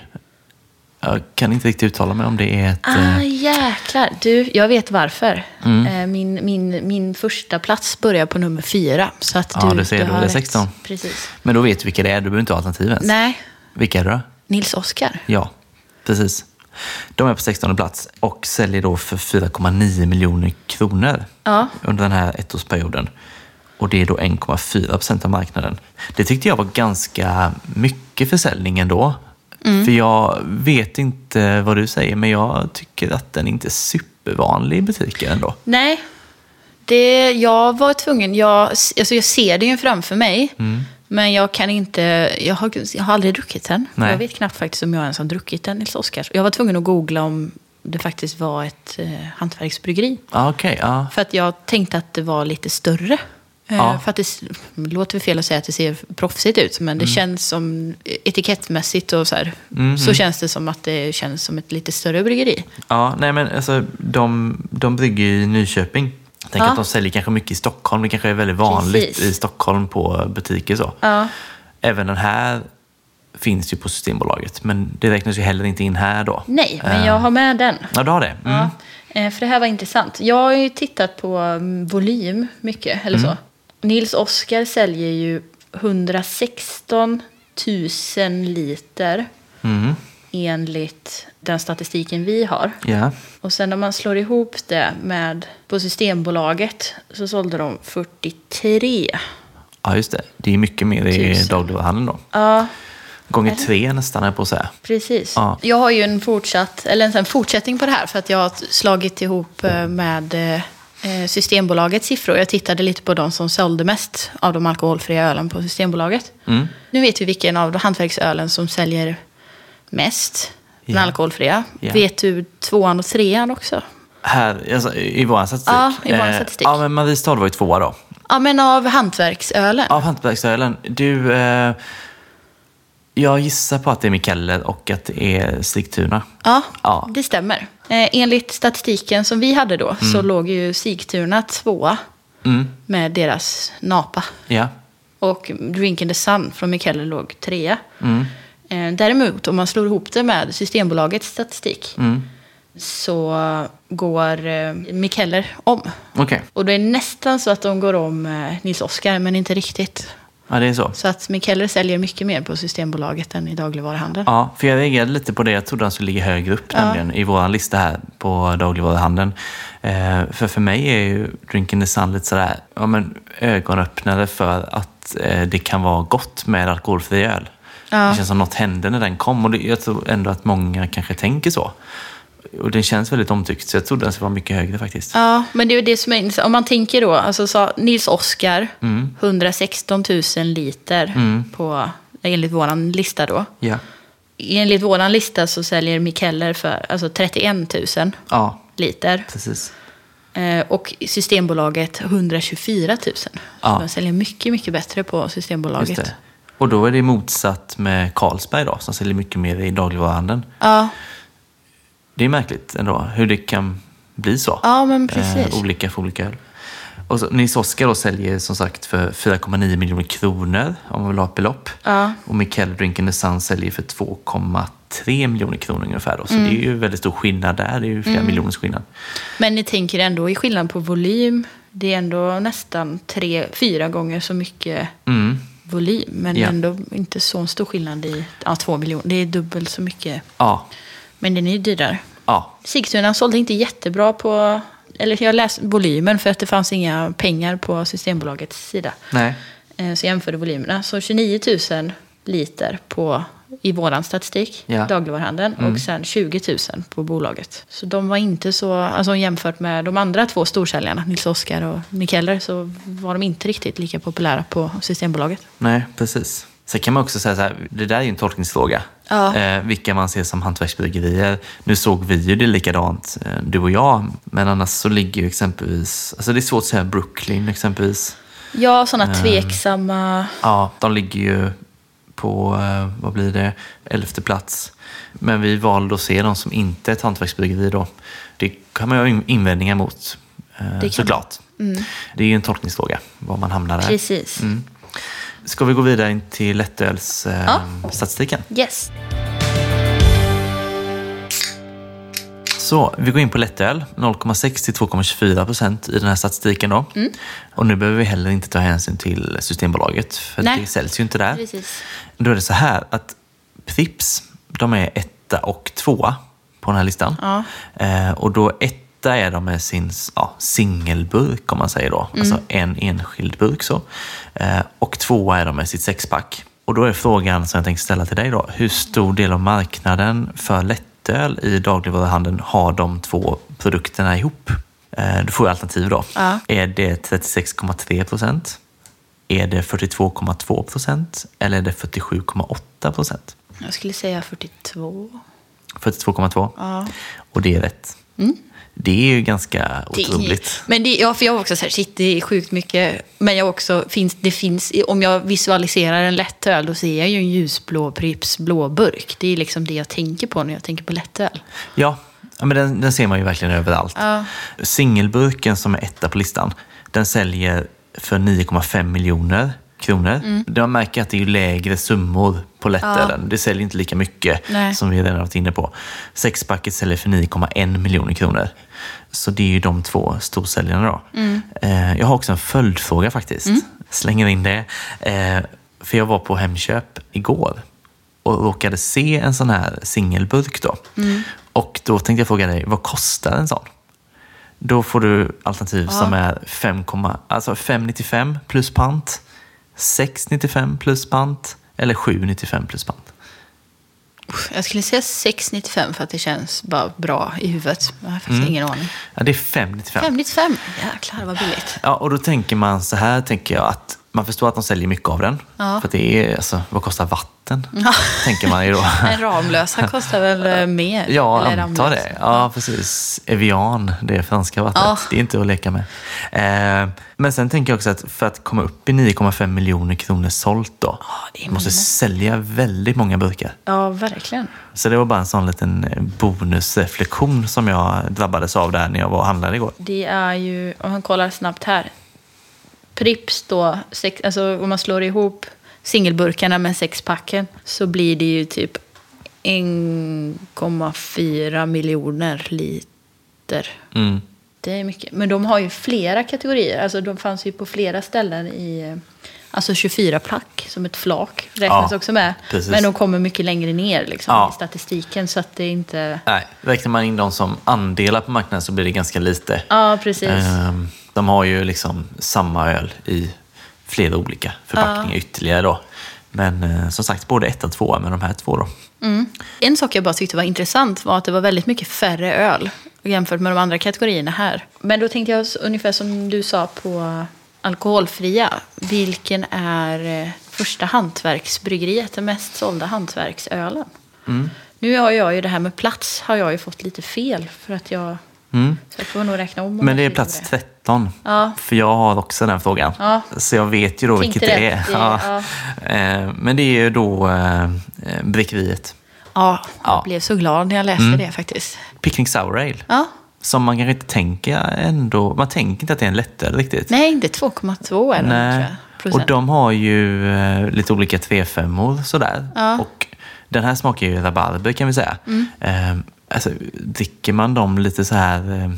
Jag kan inte riktigt uttala mig om det Mm. är ett...
Ah,
eh,
jäklar. Du, jag vet varför. Eh, Min, min, min första plats börjar på nummer fyra. Så att
Ja,
du,
du ser, då är
har
det
rätt.
16.
Precis.
Men då vet du vilka det är, du behöver inte ha alternativ ens.
Nej,
Vilka är det då?
Nils Oskar.
Ja, precis. De är på 16 plats och säljer då för 4,9 miljoner kronor
Ja.
under den här ettårsperioden. Och det är då 1,4 procent av marknaden. Det tyckte jag var ganska mycket försäljning ändå. För jag vet inte vad du säger, men jag tycker att den inte är supervanlig i butiker ändå.
Nej, det, jag var tvungen. Jag, alltså jag ser det ju framför mig.
Mm.
Men jag kan inte, jag har, jag har aldrig druckit den.
Nej.
Jag vet knappt faktiskt om jag ens har druckit den, Nils Oskars. Jag var tvungen att googla om det faktiskt var ett eh, hantverksbryggeri.
Ah, Okej, ja.
För att jag tänkte att det var lite större. Eh,
Ja.
För att det s- låter fel att säga att det ser proffsigt ut, men
Mm.
det känns som etikettmässigt och så här. Så känns det som att det känns som ett lite större bryggeri.
Ja, nej men alltså de, de brygger i Nyköping. Jag tänker
Ja.
att de säljer kanske mycket i Stockholm. Det kanske är väldigt vanligt
Precis.
i Stockholm på butiker så.
Ja.
Även den här finns ju på Systembolaget, men det räknas ju heller inte in här då.
Nej, men
Eh,
jag har med den.
Ja, du har det? Mm.
Ja, eh, för det här var intressant. Jag har ju tittat på mm, volym mycket, eller så. Nils Oskar säljer ju 116 000 liter
Mm.
enligt den statistiken vi har.
Ja.
Och sen om man slår ihop det med på Systembolaget så sålde de 43.
ja, just det. Det är mycket mer i
Tusen.
dagligvaruhandeln då.
Ja,
Gånger tre nästan, är på att säga.
precis.
Ja.
Jag har ju en fortsatt, eller en sån fortsättning på det här för att jag har slagit ihop eh, med eh, Systembolagets siffror. Jag tittade lite på de som sålde mest av de alkoholfria ölen på Systembolaget.
Mm.
Nu vet vi vilken av de hantverksölen som säljer mest, den
Ja.
alkoholfria.
Ja.
Vet du tvåan och trean också?
Här, alltså, i vår statistik.
Ja, i vår
Eh,
statistik.
Ja, men Mariestad var ju tvåa då.
Ja, men av hantverksölen.
Av hantverksölen. Du, eh, jag gissar på att det är Mikael och att det är Sigtuna.
Ja,
Ja.
det stämmer. Eh, enligt statistiken som vi hade då så låg ju Sigtuna tvåa
Mm,
med deras Napa.
ja.
Och Drink in the Sun från Mikael låg trea. Eh, däremot om man slår ihop det med Systembolagets statistik så går eh, Mikael om.
Okej,
Och det är nästan så att de går om eh, Nils Oskar, men inte riktigt.
ja, det är så.
Så att Mikael säljer mycket mer på Systembolaget än i dagligvaruhandeln.
Ja, för jag reagerade lite på det. Jag trodde han skulle ligga högre upp nämligen i vår lista här på dagligvaruhandeln. Eh, för för mig är ju Drink in the Sun lite sådär ja, men ögonöppnare för att eh, det kan vara gott med alkoholfri öl. Det känns som något hände när den kom och det, jag tror ändå att många kanske tänker så. Och den känns väldigt omtyckt så jag trodde den skulle vara mycket högre faktiskt.
Ja, men det är ju det som är intressant. Om man tänker då, alltså sa Nils Oskar, 116 000 liter på, enligt våran lista då.
Ja.
Enligt våran lista så säljer Mikeller för alltså 31 000
ja,
liter.
precis.
Eh, och Systembolaget 124 000.
Ja.
Så de säljer mycket, mycket bättre på Systembolaget.
Just det. Och då är det motsatt med Carlsberg då, som säljer mycket mer i dagligvaruhandeln.
Ja,
Det är märkligt ändå hur det kan bli så.
Ja, men precis.
Eh, olika för olika öl. Och så, Nils Oskar då säljer som sagt för 4,9 miljoner kronor om man vill ha ett belopp.
Ja.
Och Mikael Drink in the Sun säljer för 2,3 miljoner kronor ungefär. Då. Så
Mm.
det är ju väldigt stor skillnad där. Det är ju flera miljoners skillnad.
men ni tänker ändå i skillnad på volym. Det är ändå nästan tre, fyra gånger så mycket
Mm.
volym, men
Ja.
ändå inte så stor skillnad i ja, två miljoner. Det är dubbelt så mycket,
Ja.
men den är ju dyrare.
ja,
Sigtuna sålde inte jättebra på, eller jag läste volymen för att det fanns inga pengar på Systembolagets sida.
nej.
Eh, Så jag jämförde volymerna. Så 29 000 liter på, i våran statistik,
Ja.
dagligvaruhandeln, och sen 20 000 på bolaget. Så de var inte så, alltså jämfört med de andra två storsäljarna, Nils Oskar och Mikeller, så var de inte riktigt lika populära på Systembolaget.
Nej, precis. Sen kan man också säga så här, det där är ju en tolkningsfråga.
Ja.
Eh, vilka man ser som hantverksbryggerier. Nu såg vi ju det likadant, eh, du och jag. Men annars så ligger ju exempelvis, alltså det är svårt att säga Brooklyn exempelvis.
Ja, sådana tveksamma...
Ja, de ligger ju på, eh, vad blir det, elfte plats. Men vi valde att se dem som inte ett hantverksbryggeri då. Det kan man ju ha in- invändningar mot, eh,
kan Mm.
såklart. Det är ju en tolkningsfråga, var man hamnar där.
Precis.
Ska vi gå vidare in till lättölsstatistiken? Eh,
Ja.
statistiken?
Yes.
Så, vi går in på lättöl. 0,6 till 2,24 procent i den här statistiken. Då.
Mm.
Och nu behöver vi heller inte ta hänsyn till Systembolaget, för
Nej.
det säljs ju inte där.
Precis.
Då är det så här att Pripps, de är etta och tvåa på den här listan.
Ja.
Eh, och då etta är de med sin ja, singelburk, om man säger då.
Mm.
Alltså en enskild burk. så. Eh, och tvåa är de med sitt sexpack. Och då är frågan som jag tänkte ställa till dig då. Hur stor del av marknaden för lättöl i dagligvaruhandeln har de två produkterna ihop? Eh, du får ju alternativ då.
Ja.
Är det 36,3 procent? Är det 42,2 procent? Eller är det 47,8 procent?
Jag skulle säga 42.
42,2.
Ja. Mm.
Och det är rätt. Det är ju ganska otroligt.
Men det, ja, för jag var också så här, shit, det är sjukt mycket. Men jag också, finns, det finns, om jag visualiserar en lättöl, då ser jag ju en ljusblå Pripps blåburk. Det är liksom det jag tänker på när jag tänker på lättöl.
Ja, ja, men den, den ser man ju verkligen överallt.
Ja.
Singelburken som är etta på listan, den säljer för 9,5 miljoner kronor.
Mm.
Man märker att det är ju lägre summor på lättölen. Det säljer inte lika mycket
Nej.
som vi redan varit inne på. Sexpacket säljer för 9,1 miljoner kronor. Så det är ju de två storsäljarna då. Eh, Jag har också en följdfråga faktiskt. Slänger in det. Eh, För jag var på Hemköp igår och råkade se en sån här singelburk då. Och då tänkte jag fråga dig, vad kostar en sån? Då får du alternativ som är 5, alltså 5,95 plus pant, 6,95 plus pant eller 7,95 plus pant.
Jag skulle säga 6,95 för att det känns bara bra i huvudet. Jag har faktiskt ingen aning.
Mm. Ja, det är 5,95.
5,95? Jäklar vad billigt.
*laughs* Ja, och då tänker man så här, tänker jag att man förstår att de säljer mycket av den.
Ja.
För att det är, alltså, vad kostar
*laughs*
vatten? Tänker man ju då.
En Ramlösa kostar väl eh, mer?
Ja,
Eller
antar
Ramlösa.
det. Ja, precis. Evian, det franska vattnet.
Ja.
Det är inte att leka med. Eh, men sen tänker jag också att för att komma upp i 9,5 miljoner kronor sålt då,
det är
måste sälja väldigt många burkar.
Ja, verkligen.
Så det var bara en sån liten eh, bonusreflektion som jag drabbades av där när jag var och handlade igår.
Det är ju, om man kollar snabbt här. Pripps då, sex, alltså om man slår ihop singelburkarna med sexpacken så blir det ju typ 1,4 miljoner liter.
Mm.
Det är mycket. Men de har ju flera kategorier. Alltså de fanns ju på flera ställen i... eh, Alltså 24-pack som ett flak räknas
Ja,
också med.
precis.
Men de kommer mycket längre ner liksom,
Ja.
i statistiken. Så att det är inte...
Nej, räknar man in dem som andelar på marknaden så blir det ganska lite.
Ja, precis.
Ehm, De har ju liksom samma öl i flera olika förpackningar ytterligare då. Men eh, som sagt, både ett och två med de här två då.
Mm. En sak jag bara tyckte var intressant var att det var väldigt mycket färre öl jämfört med de andra kategorierna här. Men då tänkte jag s- ungefär som du sa på alkoholfria. Vilken är eh, första hantverksbryggeriet, den mest sålda hantverksölen?
Mm.
Nu har jag ju det här med plats har jag ju fått lite fel för att jag... Så jag får nog räkna om. om
Mm. Men det
jag
är
skriver
plats
det.
13.
Ja.
För jag har också den frågan.
Ja.
Så jag vet ju då
Tänkte
vilket det
det.
är.
Det-
Ehm, Men det är ju då eh, eh, Brickeriet.
Ja, jag
Ja. Mm.
blev så glad när jag läste det faktiskt.
Picnic Sour Ale.
Ja.
Som man kanske inte tänker ändå. Man tänker inte att det är en lättöl riktigt.
Nej, det är 2,2 är det, tror
Nej.
jag.
Och
Procent.
de har ju eh, lite olika 3-5-or sådär. Och den här smakar ju rabarber kan vi säga.
Mm.
Eh, alltså, dricker man dem lite så här... Eh,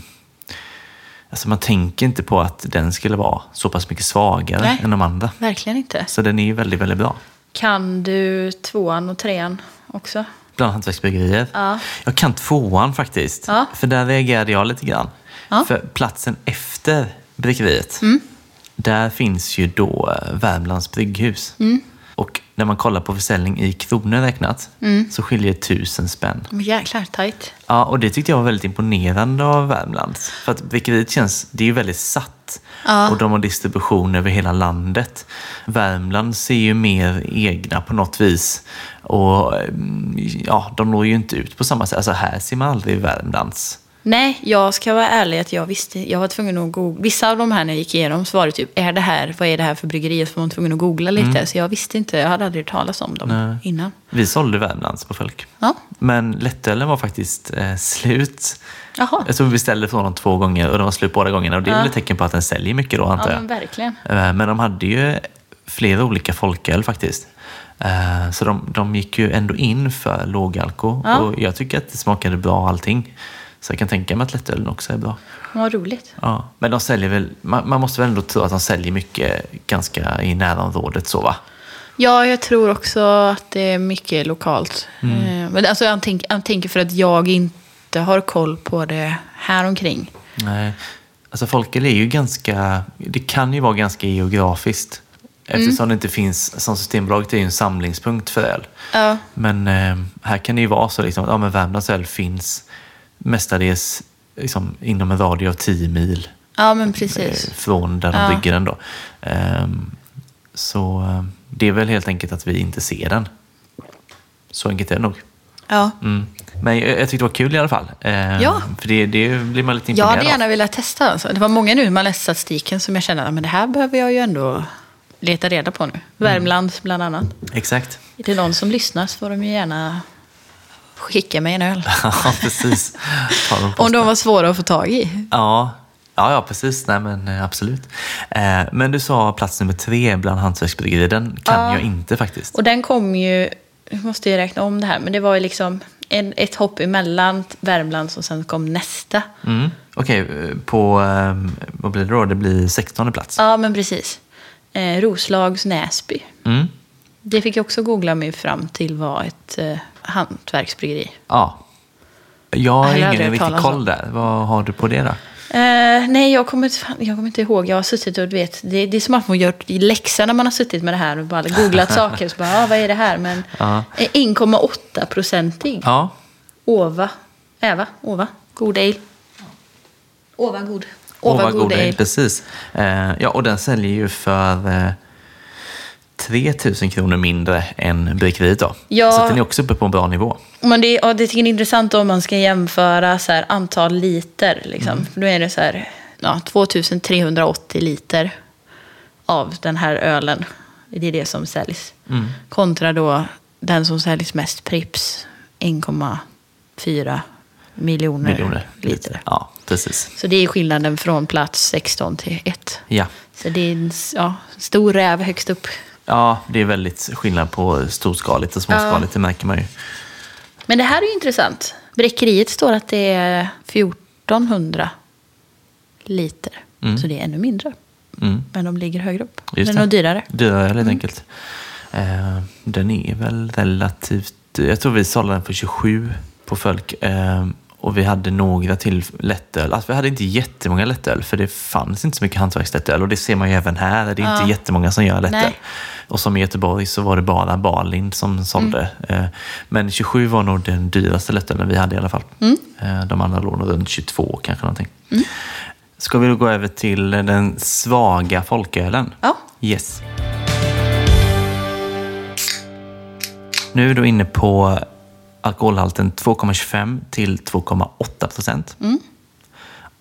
alltså man tänker inte på att den skulle vara så pass mycket svagare
Nej.
än de andra.
Verkligen inte.
Så den är ju väldigt, väldigt bra.
Kan du tvåan och trean också?
Bland hantverksbryggerier.
Ja.
Jag kan tvåan faktiskt.
Ja.
För där reagerade jag lite grann.
Ja. Mm.
För platsen efter bryggeriet, där finns ju då eh, Värmlands brygghus.
Mm.
Och när man kollar på försäljning i kronor räknat
Mm.
så skiljer det tusen spänn.
Men jäklar, tajt.
Ja, och det tyckte jag var väldigt imponerande av Värmland. För att bryggeriet känns, det är ju väldigt satt. Och de har distribution över hela landet. Värmland ser ju mer egna på något vis. Och mm, ja, de når ju inte ut på samma sätt. Alltså här ser man aldrig Värmlands.
Nej, jag ska vara ärlig att jag visste. Jag var tvungen att googla. Vissa av de här när jag gick igenom så var det typ, är det här, vad är det här för bryggeri? Och så var man tvungen att googla lite. Så jag visste inte, jag hade aldrig hört talas om dem innan.
Vi sålde Värmlands på folk.
Ja.
Men lättölen var faktiskt eh, slut.
Jaha.
Jag tror vi beställde från dem två gånger och de var slut båda gångerna. Och det är väl ett tecken på att den säljer mycket då antar
Ja,
jag.
men verkligen.
Eh, Men de hade ju flera olika folköl faktiskt. Eh, Så de, de gick ju ändå in för lågalko
Ja.
och jag tycker att det smakade bra allting. Så jag kan tänka mig att lättölen också är bra.
Vad roligt.
Ja, men de säljer väl, man, man måste väl ändå tro att de säljer mycket ganska i närområdet så va?
Ja, jag tror också att det är mycket lokalt. Eh, Men alltså, jag, tänk, jag tänker för att jag inte har koll på det här omkring.
Nej. Alltså folköl är ju ganska, det kan ju vara ganska geografiskt.
Mm.
Eftersom det inte finns, som Systembolaget är ju en samlingspunkt för öl.
Ja.
Men eh, här kan det ju vara så liksom, att ja, men Värmlands öl finns mestadels liksom, inom en radie av 10 mil
Ja, men
eh,
precis.
från där de
Ja.
bygger den. Då. Ehm, så eh, det är väl helt enkelt att vi inte ser den. Så enkelt är det nog.
Ja.
Mm. Men jag, jag tyckte det var kul i alla fall. Ehm,
Ja.
För det, det blir man lite
Jag
imponerad
hade gärna velat testa. Alltså. Det var många nu när man läste statistiken som jag kände att det här behöver jag ju ändå leta reda på
Mm.
nu. Värmland bland annat.
av. Exakt.
Är det någon som lyssnar så får de ju gärna skicka mig en öl.
*laughs* Ja, precis. Ta dem på
Om de var svåra att få tag i.
Ja, ja, ja precis. Nej, men eh, absolut. Eh, men du sa plats nummer tre bland hantverksbryggerier. Den kan jag inte faktiskt.
Och den kom ju, jag måste ju räkna om det här, men det var ju liksom en, ett hopp emellan Värmland och sen kom nästa.
Mm. Okej, eh, på eh, vad blir det då? Det blir 16 plats.
Ja, men precis. Eh, Roslags Näsby.
Mm.
Det fick jag också googla mig fram till var ett eh, hantverksbryggeri.
Ja. Jag
Jag har
har
aldrig
ingen
hört
riktig
talas om.
koll där. Vad har du på det då?
Eh, nej, jag kommer, inte, fan, jag kommer inte ihåg. Jag har suttit och du vet, det, det är som att man gör i läxa när man har suttit med det här och bara *laughs* googlat saker. Så bara, ah, vad är det här? Men
Ja.
eh, 1,8 procentig.
Ja,
Ova. Äva. Ova. God ale. Ova god. Ova, god,
Ovagoda
ale.
Precis. Eh, ja, och den säljer ju för eh, 3 000 kronor mindre än bryggeriet då.
Ja.
Så den är också uppe på en bra nivå.
Men det, ja, det tycker jag är intressant om man ska jämföra så här, antal liter. Liksom. För Då är det så här, ja, 2380 liter av den här ölen. Det är det som säljs. Kontra då den som säljs mest Prips, 1,4 miljoner,
Miljoner
liter.
Ja, precis.
Så det är skillnaden från plats 16 till 1.
Ja.
Så det är en s- ja, stor räv högst upp.
Ja, det är väldigt skillnad på storskaligt och småskaligt, det märker man ju.
Men det här är ju intressant. Bräckeriet står att det är 1400 liter. Så det är ännu mindre.
Mm.
Men de ligger högre upp.
Just
Men
det.
de är Mm. dyrare.
Dyrare helt enkelt. Eh, den är väl relativt dyr. Jag tror vi sålde den för 27 på folk. Eh, och vi hade några till lättöl. Alltså, vi hade inte jättemånga lättöl, för det fanns inte så mycket hantverkslättöl. Och det ser man ju även här. Det är inte jättemånga som gör lättöl.
Nej.
Och som i Göteborg så var det bara Barlind som sålde.
Mm.
Eh, men 27 var nog den dyraste lättölen vi hade i alla fall.
Mm.
Eh, de andra låg nog runt 22 kanske någonting. Ska vi då gå över till den svaga folkölen?
Ja.
Yes. Nu är vi då inne på alkoholhalten 2,25 till 2,8 procent.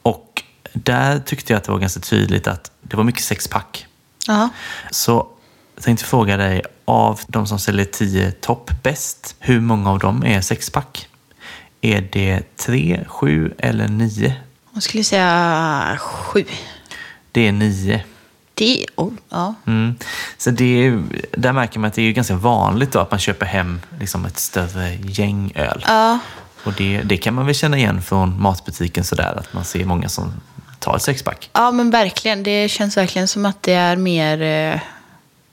Och där tyckte jag att det var ganska tydligt att det var mycket sexpack.
Ja.
Så jag tänkte fråga dig, av de som säljer 10 topp bäst, hur många av dem är sexpack? Är det 3, 7 eller 9?
Jag skulle säga sju.
Det är 9.
Det, oh, ja.
Mm. Så det är, ju- där märker man att det är ju ganska vanligt då att man köper hem liksom ett större gäng öl.
Ja.
Och det, det kan man väl känna igen från matbutiken sådär, att man ser många som tar ett sexpack.
ja, men verkligen. Det känns verkligen som att det är mer eh,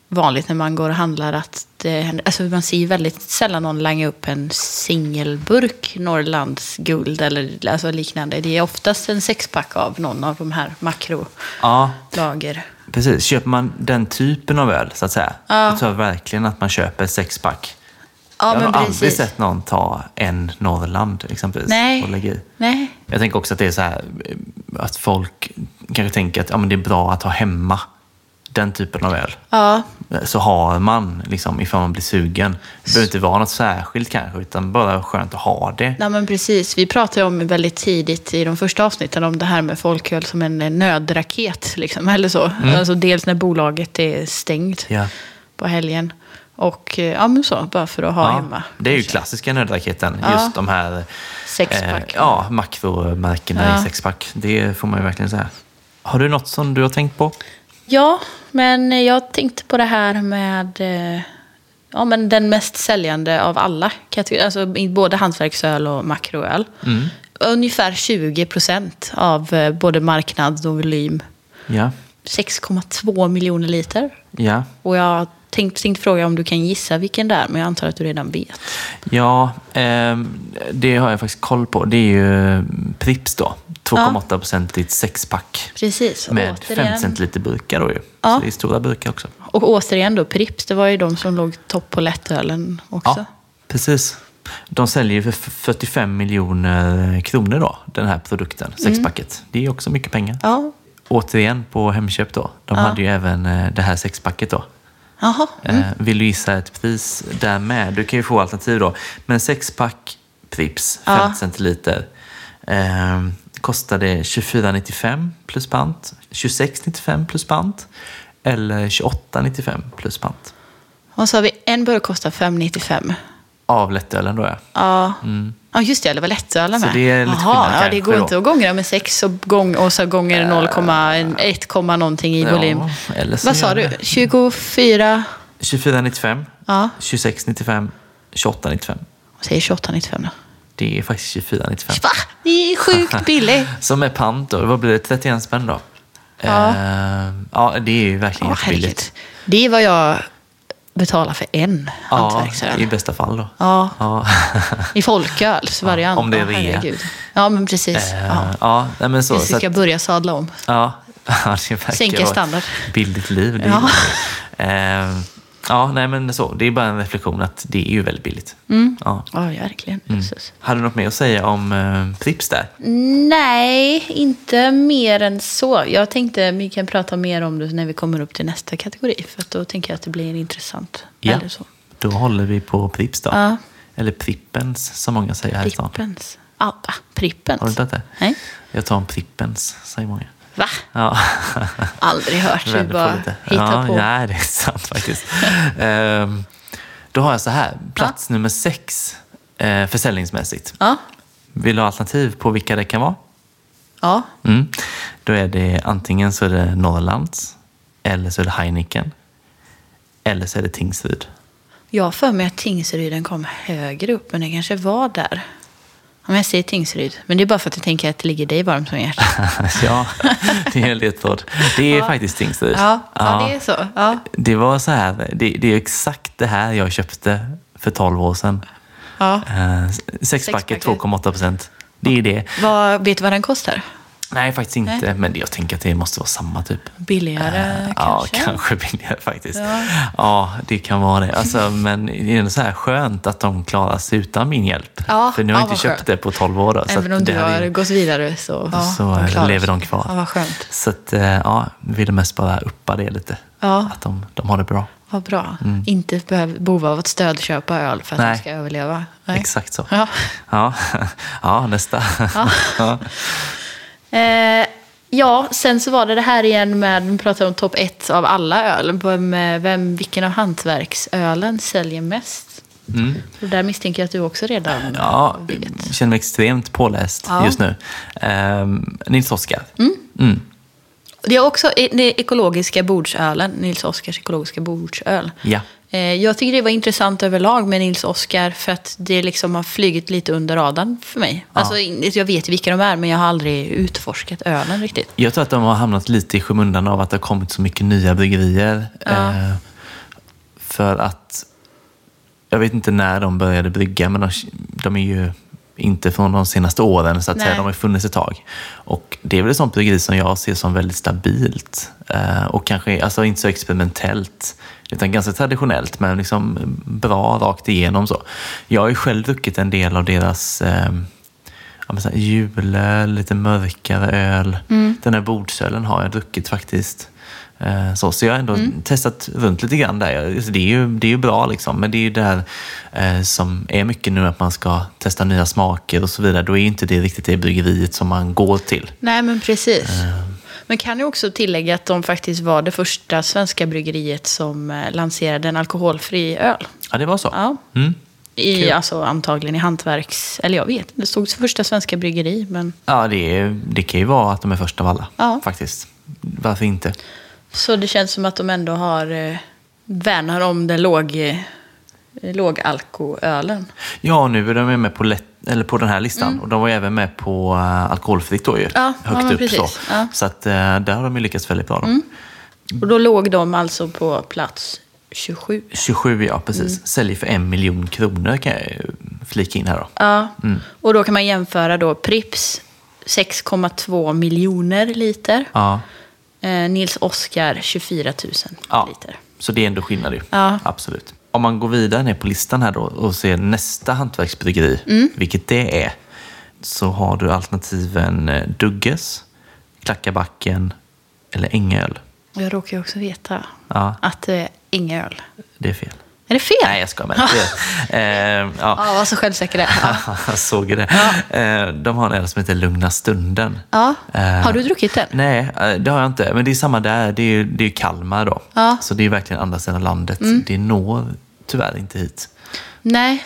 vanligt när man går och handlar. Att det, händer- alltså man ser ju väldigt sällan någon langa upp en singelburk Norrlands guld eller alltså liknande. Det är oftast en sexpack av någon av de här makro...
Ja,
lager.
precis. Köper man den typen av öl, så att säga,
Ja.
då tror jag verkligen att man köper ett sexpack. jag
Ja,
har
men
nog aldrig
precis.
sett någon ta en Norrland exempelvis
Nej.
och lägga i.
Nej.
Jag tänker också att det är så här eh, att folk kanske tänker att ja, men det är bra att ha hemma den typen av öl.
Ja,
så har man, liksom, ifall man blir sugen. Det behöver inte vara något särskilt kanske, utan bara skönt att ha det.
nej, men precis. Vi pratade ju om väldigt tidigt i de första avsnitten om det här med folköl som en eh, nödraket. Liksom, *laughs* eller så. Alltså, dels när bolaget är stängt
Mm. Ja.
på helgen. Och eh, ja, men så, bara för att ha
Ja,
hemma.
det är ju klassiska nödraketen, just de här eh,
Sexpack.
ja, makromärkena
Ja.
i sexpack. Det får man ju verkligen säga. Har du något som du har tänkt på?
Ja, men jag tänkte på det här med eh, ja,
Mm.
men den mest säljande av alla kategorier. Alltså i både hantverksöl och makroöl. ungefär 20 procent av eh, både marknad och volym.
Ja,
6,2 miljoner liter.
ja.
Och jag tänkte, tänkte fråga om du kan gissa vilken det är, men jag antar att du redan vet.
Ja, ehm, det har jag faktiskt koll på. Det är ju eh, Pripps då. 2,8-procentigt sexpack.
Precis.
Med
återigen,
5 centiliter burkar då ju.
Ja.
Så det är stora burkar också.
och återigen då, Pripps, det var ju de som låg topp på lättölen också.
Ja, precis. De säljer ju för f- 45 miljoner kronor då, den här produkten,
Mm.
sexpacket. Det är också mycket pengar.
Ja.
Återigen på Hemköp då. De hade ju även eh, det här sexpacket då.
Jaha.
Eh, Vill du gissa ett pris där med? Du kan ju få alternativ då. Men sexpack Pripps, 50
Ja.
centiliter. Eh, kostade 24,95 plus pant. 26,95 plus pant. Eller 28,95 plus pant.
Och så har vi en burk kostar 5,95.
Av lättölen då ja.
Ja. ja, just det. Det var lättölen
Så
med.
det är lite skillnad
Jaha, ja, det
kanske
går
då. Äh,
inte att gångra med 6 och, gång, och så gånger 0,1, någonting i
Ja,
volym.
eller så
Vad sa
gör
du?
det.
24?
24,95.
Ja.
26,95. 28,95.
Jag säger 28,95 då.
Det är faktiskt 24,95.
Va? Det är sjukt billigt.
Som är pant då. Vad blir det? 31 spänn då?
Ja.
Eh, ja, det är ju verkligen
Ja, herregud.
jättebilligt.
Det är vad jag betalar för en
Ja, i
hantverksöl.
bästa fall då.
Ja. *laughs*
Ja.
I folköl, så varje
om det är
Ja,
rea.
herregud. Ja, men precis.
Eh,
Ja.
ja, nej men så.
Precis,
så
ska jag
att,
börja sadla om.
ja, *laughs* ja, det verkar
Sänka
vara ett
standard.
billigt liv. Det
Ja.
ja. Eh, ja, nej men så. Det är bara en reflektion att det är ju väldigt billigt.
Mm.
Ja.
Ja, verkligen.
Mm.
Jesus.
Har du något mer att säga om eh, Pripps där?
Nej, inte mer än så. Jag tänkte vi kan prata mer om det när vi kommer upp till nästa kategori. För att då tänker jag att det blir intressant. Eller så.
Då håller vi på Pripps då.
Ja.
Eller Prippens som många säger här i stan.
Prippens. Ja, va? Prippens.
Har du inte hört det?
Nej.
Jag tar en Prippens, säger många.
Va?
Ja.
Aldrig hört. Du
Vänder på
bara
lite.
hittar
ja,
på.
Nej, det är sant
*laughs*
faktiskt. Ehm, då har jag så här, plats nummer sex eh, försäljningsmässigt.
Ja.
Vill du ha alternativ på vilka det kan vara?
ja.
Mm. Då är det antingen så är det Norrlands, eller så är det Heineken, eller så är det Tingsryd.
Jag har för mig att Tingsryden kom högre upp, men den kanske var där. Om jag säger Tingsryd. Men det är bara för att jag tänker att det ligger dig varmt om
*laughs*
hjärtat.
ja, det är en ledtråd. Det är faktiskt Tingsryd.
Ja, ja. det är så. Ja.
Det var så här, det, det är exakt det här jag köpte för 12 år sedan.
Ja.
Eh, Sexpacket
Sexpacket.
2,8 procent. Det är det.
Vad, vet du vad den kostar?
Nej, faktiskt inte. Men jag tänker att det måste vara samma typ.
Billigare
Eh, Ja,
kanske?
kanske billigare faktiskt. Ja.
Ja.
det kan vara det. Alltså, men det är ändå så här skönt att de klarar sig utan min hjälp.
Ja,
För nu har
ja,
jag inte
vad
köpt
skönt.
det på 12 år. Då, så
Även
att
om du
det här
har
är-
gått vidare så, ja,
så
de
eh,
klarar
lever de
sig.
kvar.
Ja, vad skönt.
Så att, eh, ja, jag ville mest bara uppa det lite.
Ja.
Att de, de har det bra.
Vad bra. Inte behöva behov av att stödköpa öl för att
Mm. Nej.
de ska överleva. Nej.
Exakt så.
Ja.
Ja, *laughs* ja nästa. *laughs* Ja.
Eh, ja, sen så var det det här igen med, vi pratade om topp ett av alla öl. Vem, eh, vem, vilken av hantverksölen säljer mest? Och där misstänker jag att du också redan
Mm. Ja,
vet.
jag känner mig extremt påläst
Ja.
just nu. Ehm, Nils Oskar. Mm.
Det är också e- det är ekologiska bordsölen, Nils Oskars ekologiska bordsöl.
Ja.
Eh, Jag tycker det var intressant överlag med Nils Oskar för att det liksom har flugit lite under radarn för mig. Alltså, in- jag vet vilka de är men jag har aldrig utforskat ölen riktigt.
Jag tror att de har hamnat lite i skymundan av att det har kommit så mycket nya bryggerier. Eh, för att, jag vet inte när de började brygga, men de, de är ju inte från de senaste åren, så att
Nej.
säga. De har ju funnits ett tag. Och det är väl ett sånt bryggeri som jag ser som väldigt stabilt. Eh, och kanske alltså, inte så experimentellt, utan ganska traditionellt, men liksom bra rakt igenom. så. Jag har ju själv druckit en del av deras ehm, ja, men så här, julöl, lite mörkare öl. Den här bordsölen har jag druckit faktiskt. Eh, Så, så jag har ändå
Mm.
testat runt lite grann där. Jag- alltså, Det är ju, det är ju bra liksom, men det är ju det här eh, som är mycket nu att man ska testa nya smaker och så vidare. Då är ju inte det riktigt det bryggeriet som man går till.
Nej men precis. Men kan ju också tillägga att de faktiskt var det första svenska bryggeriet som eh, lanserade en alkoholfri öl.
Ja, det var så.
Ja.
Mm.
I, alltså antagligen i hantverks... Eller jag vet det stod första svenska bryggeri men...
Ja, det, är, det kan ju vara att de är först av alla
Ja.
faktiskt. Varför inte?
Så det känns som att de ändå har eh, värnar om den låg, eh, lågalkoölen.
Ja, nu är de ju med på lätt, eller på den här listan. Och de var ju även med på eh, alkoholfritt då ju.
Mm. ja,
högt
men
upp
precis.
så.
Ja. Mm.
Så att, eh, där har de ju lyckats väldigt bra. Då.
Och då låg de alltså på plats 27.
27 ja, precis.
Mm.
Säljer för en miljon kronor kan jag ju flika in här då.
Ja. Och då kan man jämföra då Prips 6,2 miljoner liter.
Ja.
Eh, Nils Oskar 24 000
Ja.
liter.
Så det är ändå skillnad ju.
Ja.
Absolut. Om man går vidare ner på listan här då och ser nästa hantverksbryggeri, vilket det är, så har du alternativen eh, Dugges, Klackabacken eller Ängöl.
Jag råkar ju också veta
Ja.
att det är inga öl.
Det är fel.
Är det fel?
Nej, jag skojar med det. Eh, ja.
*laughs* Ja, var så självsäker där. Ja.
Jag *laughs* såg ju det. Eh, De har en öl som heter Lugna stunden.
Ja.
Eh,
Har du druckit den?
Nej, eh, det har jag inte. Men det är samma där. Det är ju det är ju Kalmar då.
Ja. Mm.
Så det är verkligen andra sidan landet. Det når tyvärr inte hit.
Nej.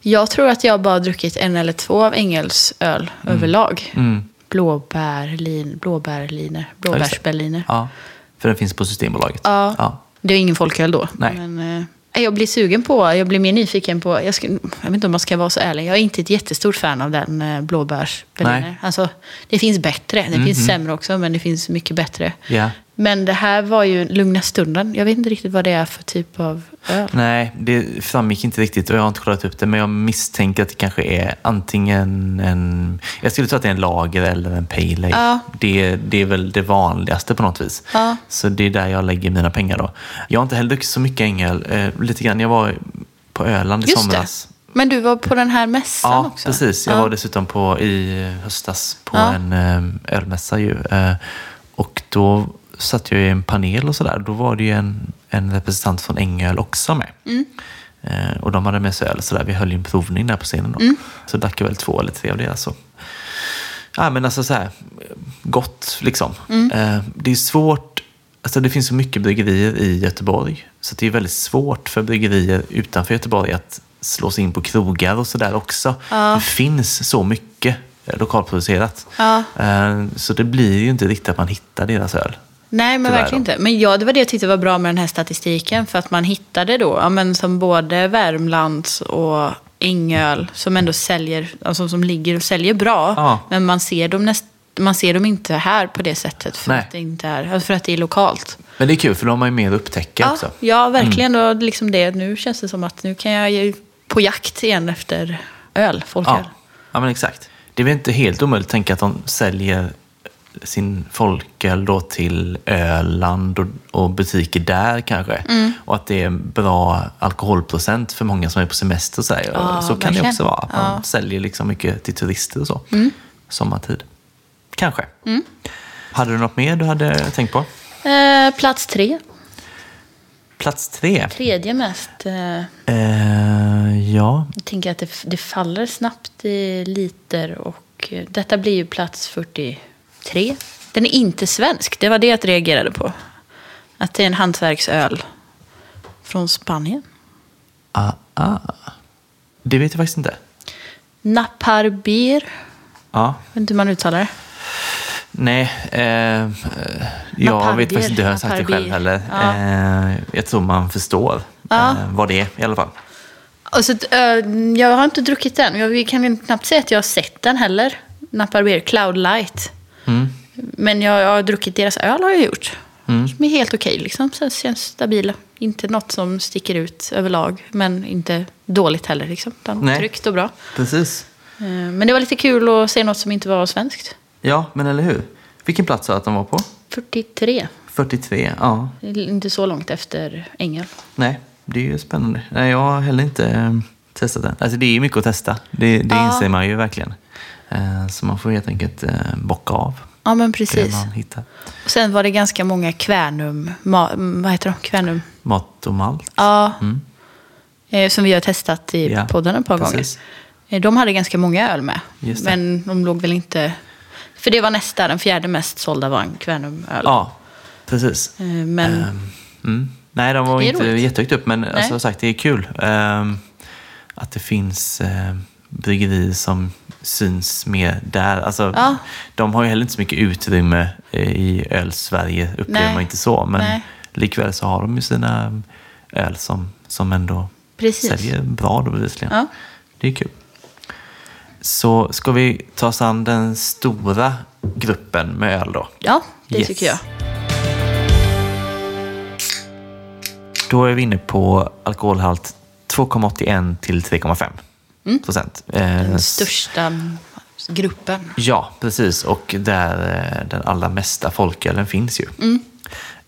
Jag tror att jag bara har druckit en eller två av Engels öl
Mm.
överlag. Blåbärlin, blåbärliner, blåbärsberliner.
Ja, för den finns på Systembolaget.
Ja. Det är ingen folköl då.
Nej.
Men, eh, jag blir sugen på, jag blir mer nyfiken på, jag, skulle, jag vet inte om man ska vara så ärlig, jag är inte ett jättestort fan av den eh, blåbärsberliner.
Nej. Mhm.
Alltså, det finns bättre, det finns sämre också, men det finns mycket bättre.
Ja.
Men det här var ju lugna stunden. Jag vet inte riktigt vad det är för typ av öl.
Nej, det framgick inte riktigt och jag har inte kollat upp det. Men jag misstänker att det kanske är antingen en... Jag skulle tro att det är en lager eller en pale ale.
Ja.
Det, det är väl det vanligaste på något vis.
Ja.
Så det är där jag lägger mina pengar då. Jag har inte heller druckit så mycket ängel. Eh, lite grann. Jag var på Öland i
Just det.
somras.
Men du var på den här mässan
Ja,
också?
precis. Jag
Ja.
var dessutom på, i höstas på
Ja.
en eh, ölmässa ju. Eh, Och då satt jag i en panel och sådär. Då var det ju en, en representant från Ängöl också med.
Mm.
Eh, Och de hade med sig öl och sådär. Vi höll ju en provning där på scenen
Mm.
då. Så drack jag väl två eller tre av det alltså. Ja, men alltså så här, gott liksom.
Mm.
Eh, Det är svårt, alltså det finns så mycket bryggerier i Göteborg. Så det är väldigt svårt för bryggerier utanför Göteborg att slå sig in på krogar och sådär också. Det finns så mycket eh, lokalproducerat.
Ja.
Eh, Så det blir ju inte riktigt att man hittar deras öl.
Nej, men
Tyvärr
verkligen inte. Men ja, det var det jag tyckte var bra med den här statistiken. För att man hittade då, ja, men som både Värmlands och Ängöl, som ändå säljer, alltså som ligger och säljer bra.
Ja.
Men man ser dem näst, man ser dem inte här på det sättet för,
Nej.
att det, inte är, alltså för att det är lokalt.
Men det är kul för de har ju mer att upptäcka
Ja,
också. Mm.
ja, verkligen. Och liksom det. Nu känns det som att nu kan jag ju på jakt igen efter öl, folköl.
Ja. ja, men exakt. Det är väl inte helt omöjligt att tänka att de säljer sin folköl då till Öland och, och butiker där kanske.
Mm.
Och att det är en bra alkoholprocent för många som är på semester. Så, här.
Ja,
så kan det
verkligen.
också vara. Att man
Ja. Mm.
säljer liksom mycket till turister och så. Sommartid. Kanske. Hade du något mer du hade tänkt på?
Eh, plats tre.
Plats tre.
Tredje mest. Eh,
Eh, ja,
Jag tänker att det, det faller snabbt i liter och eh, detta blir ju plats 43. Den är inte svensk, det var det jag reagerade på. Att det är en hantverksöl från Spanien.
ah, ah. det vet jag faktiskt inte.
Naparbir,
Ja,
jag vet inte hur man uttalar det.
Nej, eh, eh, jag vet faktiskt inte hur jag har sagt det
Naparbier.
själv heller.
Ja.
Eh, jag tror man förstår
Ja.
eh, vad det är i alla fall.
Alltså, t- eh, jag har inte druckit den, jag kan ju knappt säga att jag har sett den heller. Naparbir, Cloud Light.
Mm.
Men jag, jag har druckit deras öl har jag gjort. Som är helt okej liksom. Så det känns stabila. Inte något som sticker ut överlag. Men inte dåligt heller liksom. Utan
Nej.
tryggt och bra.
Precis.
Eh, Men det var lite kul att se något som inte var svenskt.
Ja, men eller hur? Vilken plats sa du att de var på?
43.
43, ja.
Det är Inte så långt efter Ängel.
Nej, det är ju spännande. Nej, jag har heller inte eh, testat den. Alltså det är ju mycket att testa. Det, det
Ja.
inser man ju verkligen. Eh, så man får helt enkelt eh, bocka av
Ja men
det
precis.
man hittar.
Och sen var det ganska många Kvänum... Ma, mm, vad heter de? Kvänum?
Mat och malt.
Ja. Eh, Som vi har testat i
Mm. Ja,
podden ett par
precis.
gånger. Eh, De hade ganska många öl med.
Just det.
Men de låg väl inte... För det var nästa, den fjärde mest sålda var en Kvänumöl.
Ja, precis.
Eh, Men
Mm. Nej, de var
Det är
inte
roligt.
jättehögt upp, men alltså, som sagt, det är kul ehm, att det finns uh, bryggerier som syns mer där. Alltså,
Ja.
De har ju heller inte så mycket utrymme eh, i öl-Sverige, upplever
Nej.
man inte så, men
Nej.
likväl så har de ju sina ehm, öl som, som ändå
Precis.
säljer bra då bevisligen.
Ja.
Det är kul. Så ska vi ta oss an den stora gruppen med öl då?
Ja, det
Yes.
tycker jag.
Då är vi inne på alkoholhalt 2,81 till 3,5 procent. Eh,
Mm. Den största gruppen.
Ja, precis. Och där eh, den allra mesta folkölen finns ju.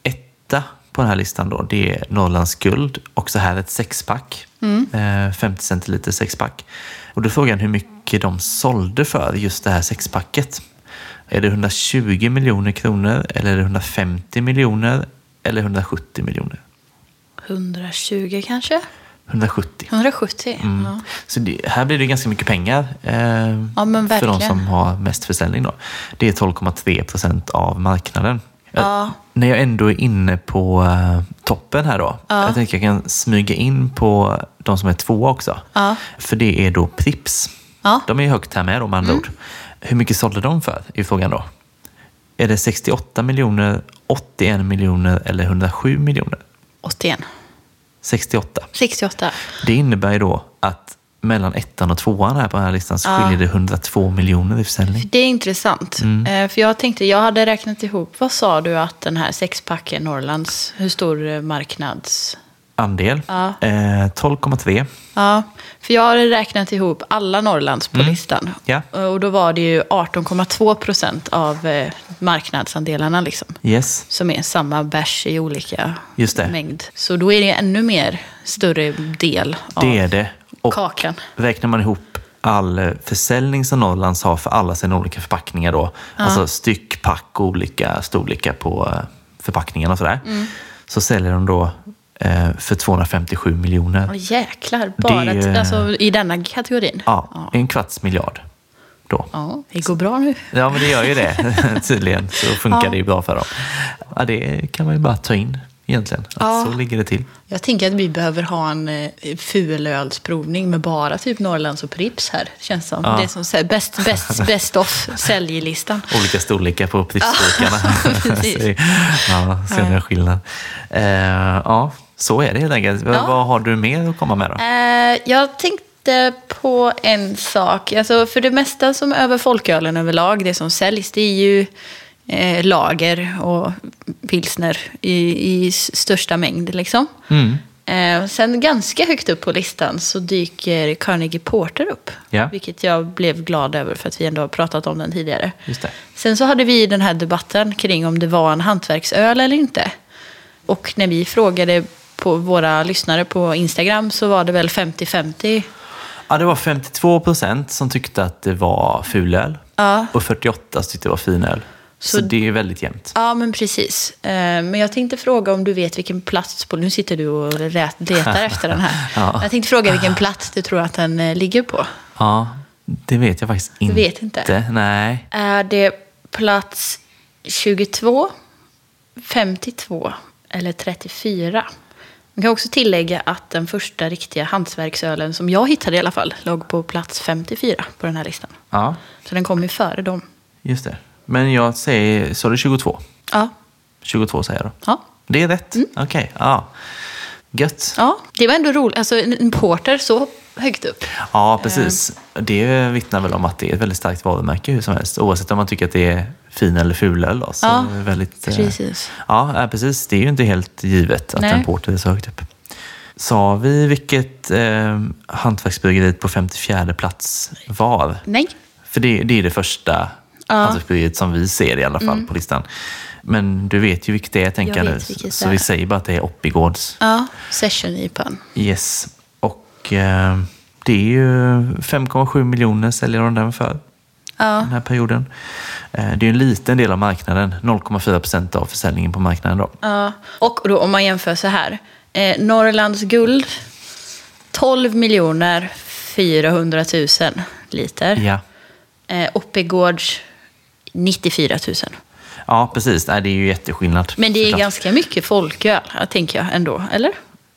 Etta på den här listan då, det är Norrlands guld. Också här ett sexpack. Eh, 50 centiliter sexpack. Och då är frågan hur mycket de sålde för just det här sexpacket. Är det 120 miljoner kronor eller är det 150 miljoner eller 170 miljoner?
120 kanske?
170.
170?
Mm.
Ja.
Så det, här blir det ganska mycket pengar eh,
Ja, men
för de
verkligen.
som har mest försäljning. Då. Det är 12,3 procent av marknaden. Jag- när jag ändå är inne på eh, toppen här då. Jag tänker jag kan smyga in på de som är tvåa också.
Ja.
För det är då Prips.
Ja. Mm.
De är ju högt här med då med andra ord. Hur mycket sålde de för i frågan då? Är det 68 miljoner, 81 miljoner eller 107 miljoner?
81.
68.
68.
Det innebär ju då att mellan ettan och tvåan här på den här listan så skiljer det 102 miljoner i försäljning.
Det är intressant.
Mm.
Eh, För jag tänkte, jag hade räknat ihop, vad sa du att den här sexpacken Norrlands, hur stor eh, marknads...
Andel
Ja.
eh, 12,3.
Ja, för jag hade räknat ihop alla Norrlands på listan.
Mm. Ja.
Och då var det ju 18,2 procent av eh, marknadsandelarna liksom.
Yes,
Som är samma bärs i olika
Just det.
mängd. Så då är det ännu mer större del av
det är det. Och
kakan.
räknar man ihop all eh, försäljning som Norrlands har för alla sina olika förpackningar då, alltså styck, pack och olika storlekar på eh, förpackningarna och sådär, så säljer de då eh, för 257 miljoner.
Åh, jäklar, bara
Det är ju-
till- alltså, i denna kategorin.
Ja, en kvarts miljard då.
Ja, det går bra nu.
Ja, men det gör ju det *laughs* tydligen. Så funkar det ju bra för dem. Ja, det kan man ju bara ta in egentligen. Att
Ja.
Så ligger det till.
Jag tänker att vi behöver ha en eh, fulölsprovning med bara typ Norrlands och Prips här. Känns som. Det är som så här,
*laughs*
best, best, best of säljlistan.
Olika storlekar på prisburkarna. *laughs*
*laughs* precis.
ja, ser ni skillnad. Eh, ja, så är det helt enkelt. V-
Ja.
Vad har du mer att komma med då?
Eh, jag tänkte på en sak. Alltså, för det mesta som över folkölen överlag, det som säljs, det är ju eh, lager och pilsner i, i s- största mängd. Liksom.
Mm.
Eh, sen ganska högt upp på listan så dyker Carnegie Porter upp.
Ja.
Vilket jag blev glad över för att vi ändå har pratat om den tidigare.
Just det.
Sen så hade vi den här debatten kring om det var en hantverksöl eller inte. Och när vi frågade på våra lyssnare på Instagram så var det väl 50-50.
Ja, det var 52 procent som tyckte att det var fulöl
Ja.
och 48 som tyckte det var finöl. Så,
Så-
det är väldigt jämnt.
Ja, men precis. Eh, Men jag tänkte fråga om du vet vilken plats... På, nu sitter du och rät-
*laughs*
letar efter den här.
Ja.
Jag tänkte fråga vilken plats du tror att den eh, ligger på.
Ja, det vet jag faktiskt inte.
vet inte.
Nej.
Är det plats 22, 52 eller 34? Man kan också tillägga att den första riktiga hantverksölen, som jag hittade i alla fall, låg på plats 54 på den här listan.
Ja,
Så den kom ju före dem.
just det. Men jag säger, så är det 22?
Ja,
22 säger jag då.
ja. Mm.
Det är rätt? Okej, ja. Gött.
ja det var ändå roligt. Alltså en en porter så högt upp.
Ja,
Ehm.
precis. Det vittnar väl om att det är ett väldigt starkt varumärke hur som helst. Oavsett om man tycker att det är fin eller ful öl. då, Så
Ja,
är det väldigt, eh,
precis.
Ja, ja, precis. Det är ju inte helt givet att
Nej.
en porter är så högt upp. Sa vi vilket eh, hantverksbryggeriet på 54 plats var?
Nej.
För det, det är det första hantverksbryggeriet som vi ser i alla fall på listan. Men du vet ju vilket det är, tänker
Mm.
jag,
Jag
nu.
vet vilket
Så
det är.
vi säger bara att det är Oppigårds.
Ja, session i pan.
Yes. Och eh, det är ju 5,7 miljoner säljer de den för
Ja.
den här perioden. Eh, det är ju en liten del av marknaden, 0,4 procent av försäljningen på marknaden. Då.
Ja, och då om man jämför så här. Eh, Norrlands guld, 12 miljoner 400 000 liter.
Ja.
Eh, Oppigårds, 94 000.
ja, precis. Nej, det är ju jätteskillnad.
Men det är
såklart.
ganska mycket folköl, eh, tänker jag ändå. Eller?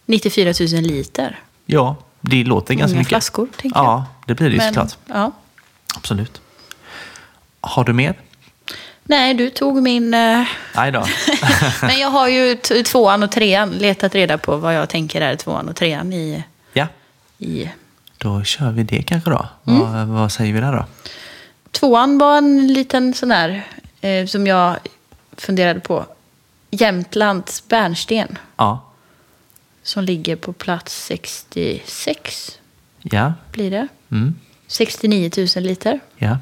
94 000 liter.
Ja, det låter ganska
Många
mycket.
flaskor, tänker jag.
Ja, det blir det ju såklart.
ja.
Absolut. Har du mer?
Nej, du tog min... Eh... *laughs*
Nej då.
Men jag har ju t- tvåan och trean, letat reda på vad jag tänker är tvåan och trean i,
Ja,
i
Då kör vi det kanske då.
Mm.
Vad, vad säger vi där då?
Tvåan var en liten sån där eh, som jag funderade på. Jämtlands bärnsten
Ja.
som ligger på plats 66
Ja.
blir det.
Mm.
69 000 liter.
Ja.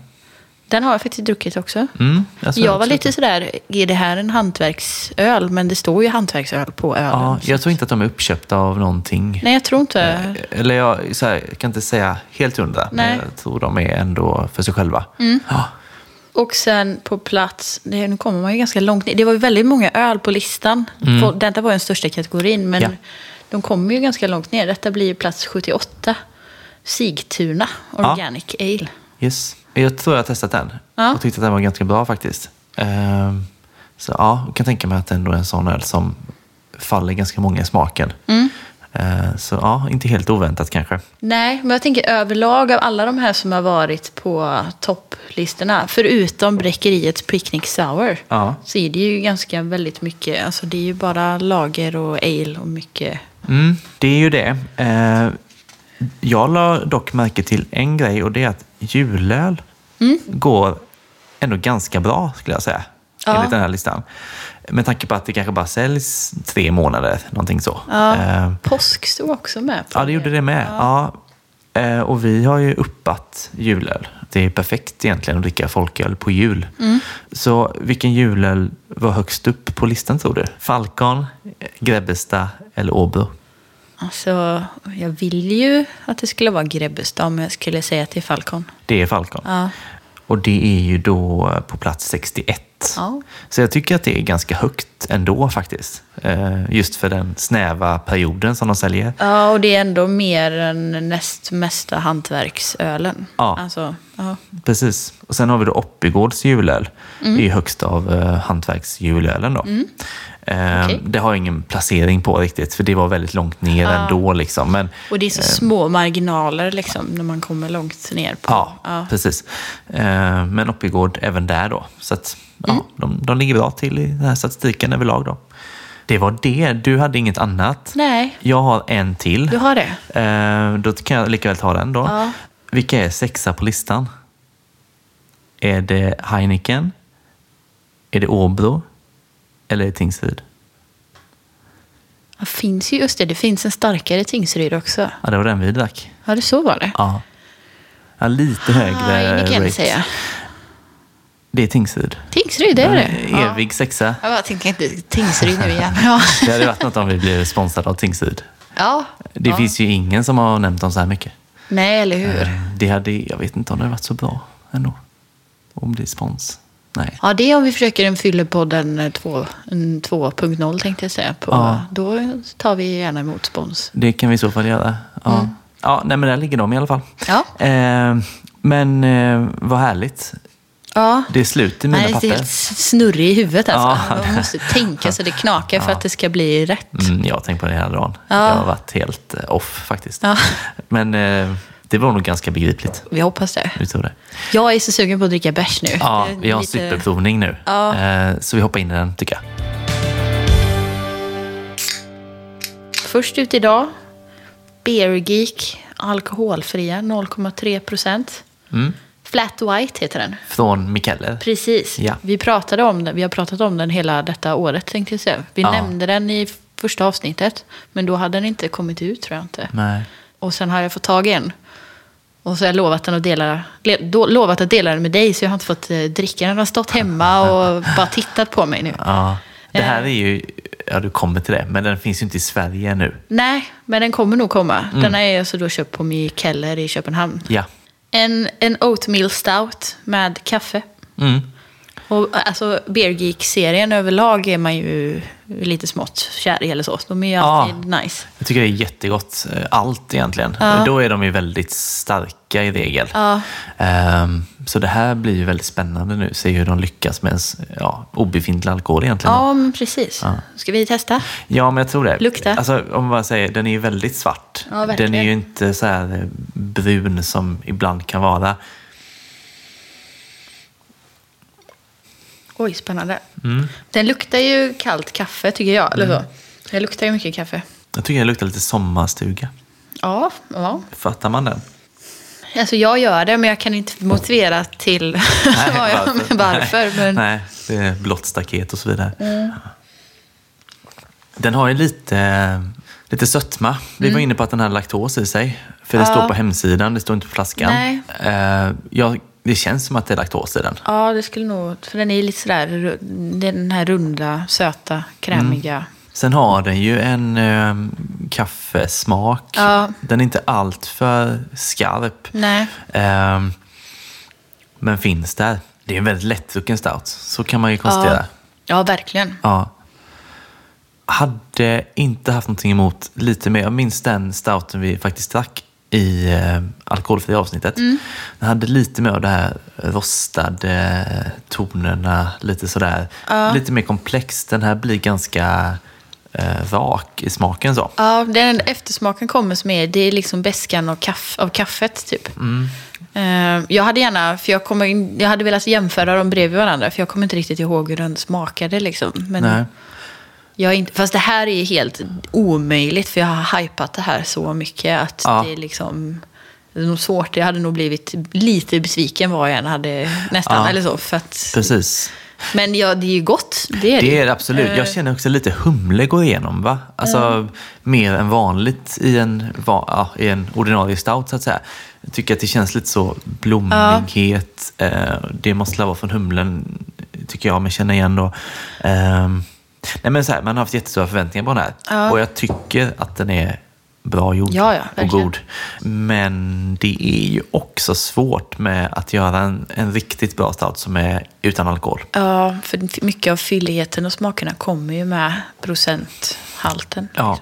Den har jag faktiskt druckit också.
Mm. sa
Jag var
absolut
lite sådär, är det här en hantverksöl? Men det står ju hantverksöl på ölen.
Ja, jag Eh, tror inte att de är uppköpta av någonting.
Nej, jag tror inte.
Eller jag, så här, jag kan inte säga helt hundra, men
Nej. Mm.
jag tror de är ändå för sig själva. Ja.
Och sen på plats, det, nu kommer man ju ganska långt ner. Det var ju väldigt många öl på listan. Mm. Detta var ju den största kategorin, men
Ja.
de kommer ju ganska långt ner. Detta blir ju plats 78. Sigtuna Organic Ale.
Yes. Jag tror jag har testat den
Ja.
och tyckte att den var ganska bra faktiskt. Ehm, så ja, jag kan tänka mig att det ändå är en sån öl som faller ganska många i smaken.
Mm.
Ehm, så ja, inte helt oväntat kanske.
Nej, men jag tänker överlag av alla de här som har varit på topplistorna, förutom Bräckeriets Picnic Sour,
Ja.
så är det ju ganska väldigt mycket, alltså det är ju bara lager och ale och mycket.
Mm, det är ju det. Eh, jag la dock märke till en grej och det är att julöl
Mm.
går ändå ganska bra skulle jag säga.
Ja.
Enligt den här listan. Med tanke på att det kanske bara säljs tre månader, någonting så.
Ja.
Eh,
Påsk stod också med. På
ja, det gjorde det med. Ja. Eh, och vi har ju uppat julöl. Det är perfekt egentligen att dricka folköl på jul.
Mm.
Så vilken julöl var högst upp på listan tror du? Falcon, Grebbestad eller Åbro?
Alltså, jag vill ju att det skulle vara Grebbestad, men jag skulle säga till Falcon.
Det är Falcon.
Ja.
Och det är ju då eh, på plats 61.
Ja.
Så jag tycker att det är ganska högt ändå faktiskt. Eh, Just för den snäva perioden som de säljer.
ja, och det är ändå mer än näst mesta hantverksölen.
Ja.
Alltså, ja.
Precis. Och sen har vi då Oppigårds julöl.
Mm.
Det är ju högst av eh, hantverksjulölen då. Eh,
Okej.
Det har jag ingen placering på riktigt, för det var väldigt långt ner ändå. Liksom. Men,
Och det är så små marginaler liksom, när man kommer långt ner på.
Ja, precis. Eh, Men Oppigård även där då. Så att, ja,
Mm.
de, de ligger bra till i den här statistiken överlag då. Det var det. Du hade inget annat.
Nej,
Jag har en till.
du har det.
Eh, Då kan jag lika väl ta den då.
Ja.
Vilka är sexa på listan? Är det Heineken? Är det Åbro? Eller är det Tingsryd?
Det finns ju, just det, det finns en starkare Tingsryd också.
Ja, det var den vi drack.
Ja, det så var det.
Ja. ja lite högre
Heineken säger jag.
Det är Tingsryd.
Tingsryd, det är det.
Eh, Evig sexa.
Ja. Jag tänkte inte Tingsryd nu igen.
*laughs*
Ja,
Det hade varit något om vi blev sponsrade av Tingsryd.
ja.
Det finns ju ingen som har nämnt dem så här mycket.
nej eller hur.
Det hade, jag vet inte om det hade varit så bra ändå. Om det är spons. Nej.
Ja, det är om vi försöker en fyllepodden eh, två- en 2.0 tänkte jag säga. På.
Ja.
Då tar vi gärna emot spons.
Det kan vi i så fall göra. Ja, ja nej, men där ligger de i alla fall.
Mm. Ja.
Eh, men eh, vad härligt.
Ja.
Det är slut i mina
Nej, det är
papper.
helt s- snurrig i huvudet alltså.
Ja.
Man måste tänka så det knakar för att det ska bli rätt.
Mm, jag har tänkt på det hela dagen.
Ja.
Jag har varit helt eh, off faktiskt.
Ja.
Men eh, det var nog ganska begripligt.
Vi hoppas det.
Vi tror det.
Jag är så sugen på att dricka bärs nu.
Ja,
Det är
vi har en
lite-
superprovning nu.
Ja.
Eh, så vi hoppar in i den tycker jag.
Först ut idag, Beer Geek, alkoholfria 0,3 procent.
Mm.
Flat White heter den.
Från Mikael.
Precis.
Ja.
Vi, pratade om den, vi har pratat om den hela detta året tänkte jag säga. Vi
Ja.
nämnde den i första avsnittet, men då hade den inte kommit ut tror jag inte.
Nej.
Och sen har jag fått tag i en. Och så har jag lovat, den att dela, le- då, lovat att dela den med dig, så jag har inte fått eh, dricka den. Den har stått hemma och
*laughs*
bara tittat på mig nu.
Ja. Det
Eh.
här är ju, ja du kommer till det, men den finns ju inte i Sverige nu.
Nej, men den kommer nog komma.
Mm.
Den är alltså då köpt på Mikeller i Köpenhamn.
Ja.
En, en oatmeal stout med kaffe.
Mm.
Och alltså Beer Geek-serien överlag är man ju lite smått kär i eller så. De är ju alltid nice.
Jag tycker det är jättegott, eh, allt egentligen. Då är de ju väldigt starka i regel. Ehm, så det här blir ju väldigt spännande nu, se hur de lyckas med en s- ja, obefintlig alkohol egentligen.
Ja, men precis. Ska vi testa?
Ja, men jag tror det.
Lukta.
Alltså, om man bara säger, den är ju väldigt svart.
Ja, verkligen.
den är ju inte så här eh, brun som ibland kan vara.
Oj, spännande. Den luktar ju kallt kaffe tycker jag. Eller så. Den luktar ju mycket kaffe.
Jag tycker den luktar lite sommarstuga.
Ja, ja.
Fattar man den?
Alltså jag gör det, men jag kan inte motivera till *laughs* vad jag, varför. *laughs* varför men,
Nej, det är blått staket och så vidare. Den har ju lite, lite sötma. Vi var inne på att den hade laktos i sig. För det
Mm. Ja.
står på hemsidan, det står inte på flaskan.
Nej.
Eh, ja, det känns som att det är laktos i den.
Ja, det skulle nog... För den är lite sådär... ru- det är Den här runda, söta, krämiga.
Sen har den ju en eh, kaffesmak.
Ja.
Den är inte allt för skarp.
Nej.
Ehm, men finns där. Det är en väldigt lättdrucken stout. Så kan man ju konstatera.
Ja. ja, verkligen.
Ja. Hade inte haft någonting emot lite mer. Jag minns den stouten vi faktiskt drack i eh, alkoholfria avsnittet. Den hade lite mer av de här eh, rostade eh, tonerna. Lite sådär. Lite mer komplex. Den här blir ganska eh, rak i smaken. så.
Ja, den eftersmaken kommer som är, det är liksom beskan av, kaff, av kaffet typ.
Mm.
Eh, Jag hade gärna, för jag, kommer, in- jag hade velat jämföra dem bredvid varandra, för jag kommer inte riktigt ihåg hur den smakade liksom. Men
Nej.
Jag är inte, fast det här är helt omöjligt, för jag har hypat det här så mycket att
Ja.
det är liksom... Det är nog svårt. Jag hade nog blivit lite besviken vad jag än hade nästan.
Ja.
Eller så, för att,
Precis.
men ja, det är ju gott. Det är det,
Det
ju. Eh.
är det absolut. Jag känner också lite humle går igenom va? Alltså mer än vanligt i en, va, ja, i en ordinarie stout så att säga. Jag tycker att det känns lite så blommighet. Eh, det måste väl vara från humlen tycker jag mig känna igen då. Ehm, nej men så här, man har haft jättestora förväntningar på den här.
Ja.
Och jag tycker att den är bra gjord
Ja, ja,
och
verkligen.
god. Men det är ju också svårt med att göra en, en riktigt bra stout som är utan alkohol.
Ja, för mycket av fylligheten och smakerna kommer ju med procenthalten.
Ja.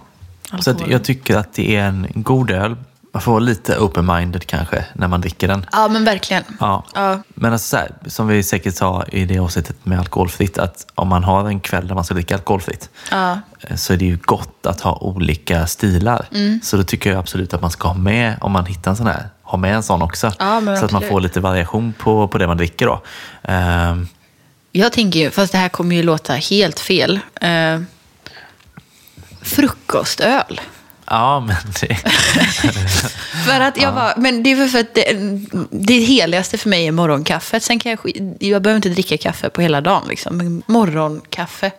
Så att
Alkoholen.
jag tycker att det är en god öl. Man får vara lite open-minded kanske när man dricker den.
Ja, men verkligen.
Ja.
Ja.
Men alltså så här, som vi säkert sa i det avsnittet med alkoholfritt, att om man har en kväll där man ska dricka alkoholfritt eh,
Ja.
så är det ju gott att ha olika stilar.
Mm.
Så då tycker jag absolut att man ska ha med, om man hittar en sån här, ha med en sån också.
Ja, men
så att man
absolut.
får lite variation på, på det man dricker då. Ehm,
Jag tänker ju, fast det här kommer ju låta helt fel. Eh, frukostöl.
ja, *laughs* men det...
För att jag bara, men det är väl för att det, det heligaste för mig är morgonkaffet. Sen kan jag, sk- jag behöver inte dricka kaffe på hela dagen. Liksom. Men morgonkaffe,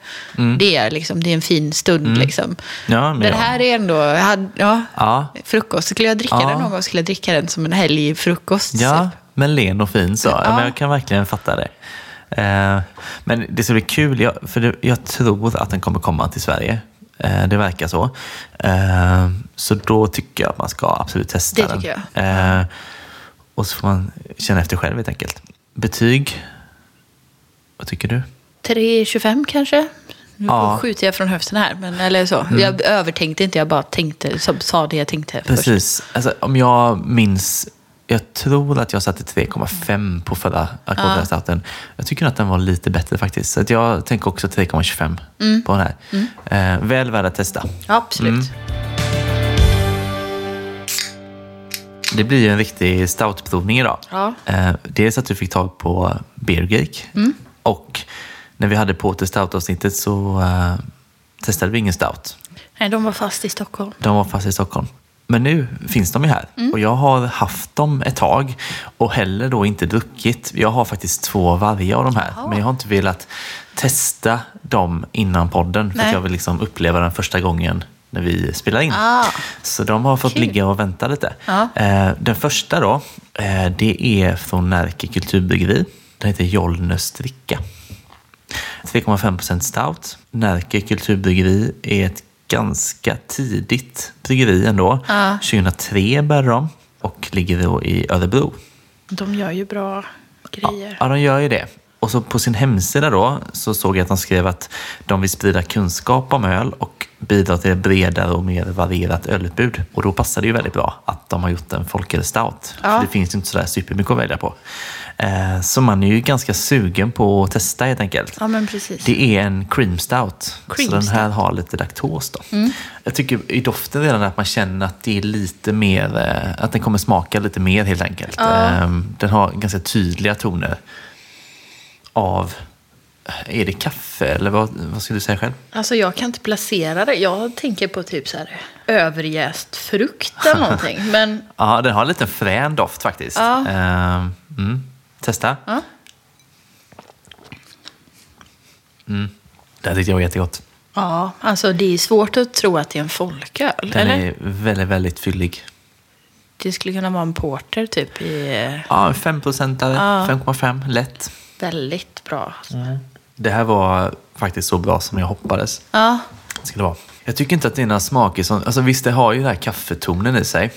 det, är liksom, det är en fin stund. Liksom.
Mm. Ja, men
Den
ja.
här är ändå, jag hade, ja,
Ja.
frukost. Skulle jag dricka
Ja.
den någon gång skulle jag dricka den som en helgfrukost.
Ja,
typ.
men len och fin så. Ja.
Ja.
Men jag kan verkligen fatta det. Eh, Men det som blir kul, jag, för det, jag tror att den kommer komma till Sverige. Eh, Det verkar så. Eh, Så då tycker jag att man ska absolut testa
Det
den.
tycker
jag. Och så får man känna efter själv helt enkelt. Betyg? Vad tycker du?
3,25 kanske? Nu
Ja. Mm.
skjuter jag från höften här. Men, eller så. Jag övertänkte inte, jag bara tänkte, som, sa det jag tänkte först.
Precis. Alltså, om jag minns, jag tror att jag satte 3,5 på förra alkoholfria Jag tycker att den var lite bättre faktiskt. Så att jag tänker också 3,25
Mm.
på den här. Eh, väl värd att testa.
Ja, absolut.
Mm. Det blir ju en riktig stoutprovning idag.
Ja. Mm.
Eh, dels att du fick tag på Beer Geek. Och när vi hade på till stout-avsnittet så eh, testade vi ingen stout.
Nej, de var fast i Stockholm.
De var fast i Stockholm. Men nu finns de ju här
Mm.
och jag har haft dem ett tag och heller då inte druckit. Jag har faktiskt två av varje av de här men jag har inte velat testa dem innan podden för att
Nej.
jag vill liksom uppleva den första gången när vi spelar in.
Ah.
Så de har fått
Kul.
ligga och vänta lite.
Ja.
Eh, den första då, eh, det är från Närke kulturbryggeri. Den heter Jollnäs dricka. 3,5 stout. Närke kulturbryggeri är ett ganska tidigt bryggeri ändå.
Ja.
2003 började de och ligger då i Örebro.
De gör ju bra grejer.
Ja, de gör ju det. Och så på sin hemsida då så såg jag att de skrev att de vill sprida kunskap om öl och bidra till ett bredare och mer varierat ölutbud. Och då passar det ju väldigt bra att de har gjort en folkölstout.
Ja.
För det finns ju inte sådär supermycket att välja på. Eh, så man är ju ganska sugen på att testa helt enkelt.
Ja, men precis.
Det är en cream stout.
Cream Mm.
så den här har lite laktos då. Jag tycker i doften redan att man känner att det är lite mer, eh, att den kommer smaka lite mer helt enkelt. Ehm, Den har ganska tydliga toner av Är det kaffe eller vad, vad skulle du säga själv?
Alltså jag kan inte placera det. Jag tänker på typ så här överjäst frukt
*laughs*
eller någonting. Men
Ja, den har en liten frän doft faktiskt.
Ja.
Eh, mm. Testa.
Ja.
Mm. Det här tyckte jag var jättegott.
ja, alltså det är svårt att tro att det är en folköl.
Den
eller?
är väldigt, väldigt fyllig.
Det skulle kunna vara en porter typ i eh,
Ja, en 5-procentare. 5,5. Lätt.
väldigt bra.
Mm. Det här var faktiskt så bra som jag hoppades.
Ja,
Det skulle vara. Jag tycker inte att det är några smaker som... Alltså visst, det har ju den här kaffetonen i sig.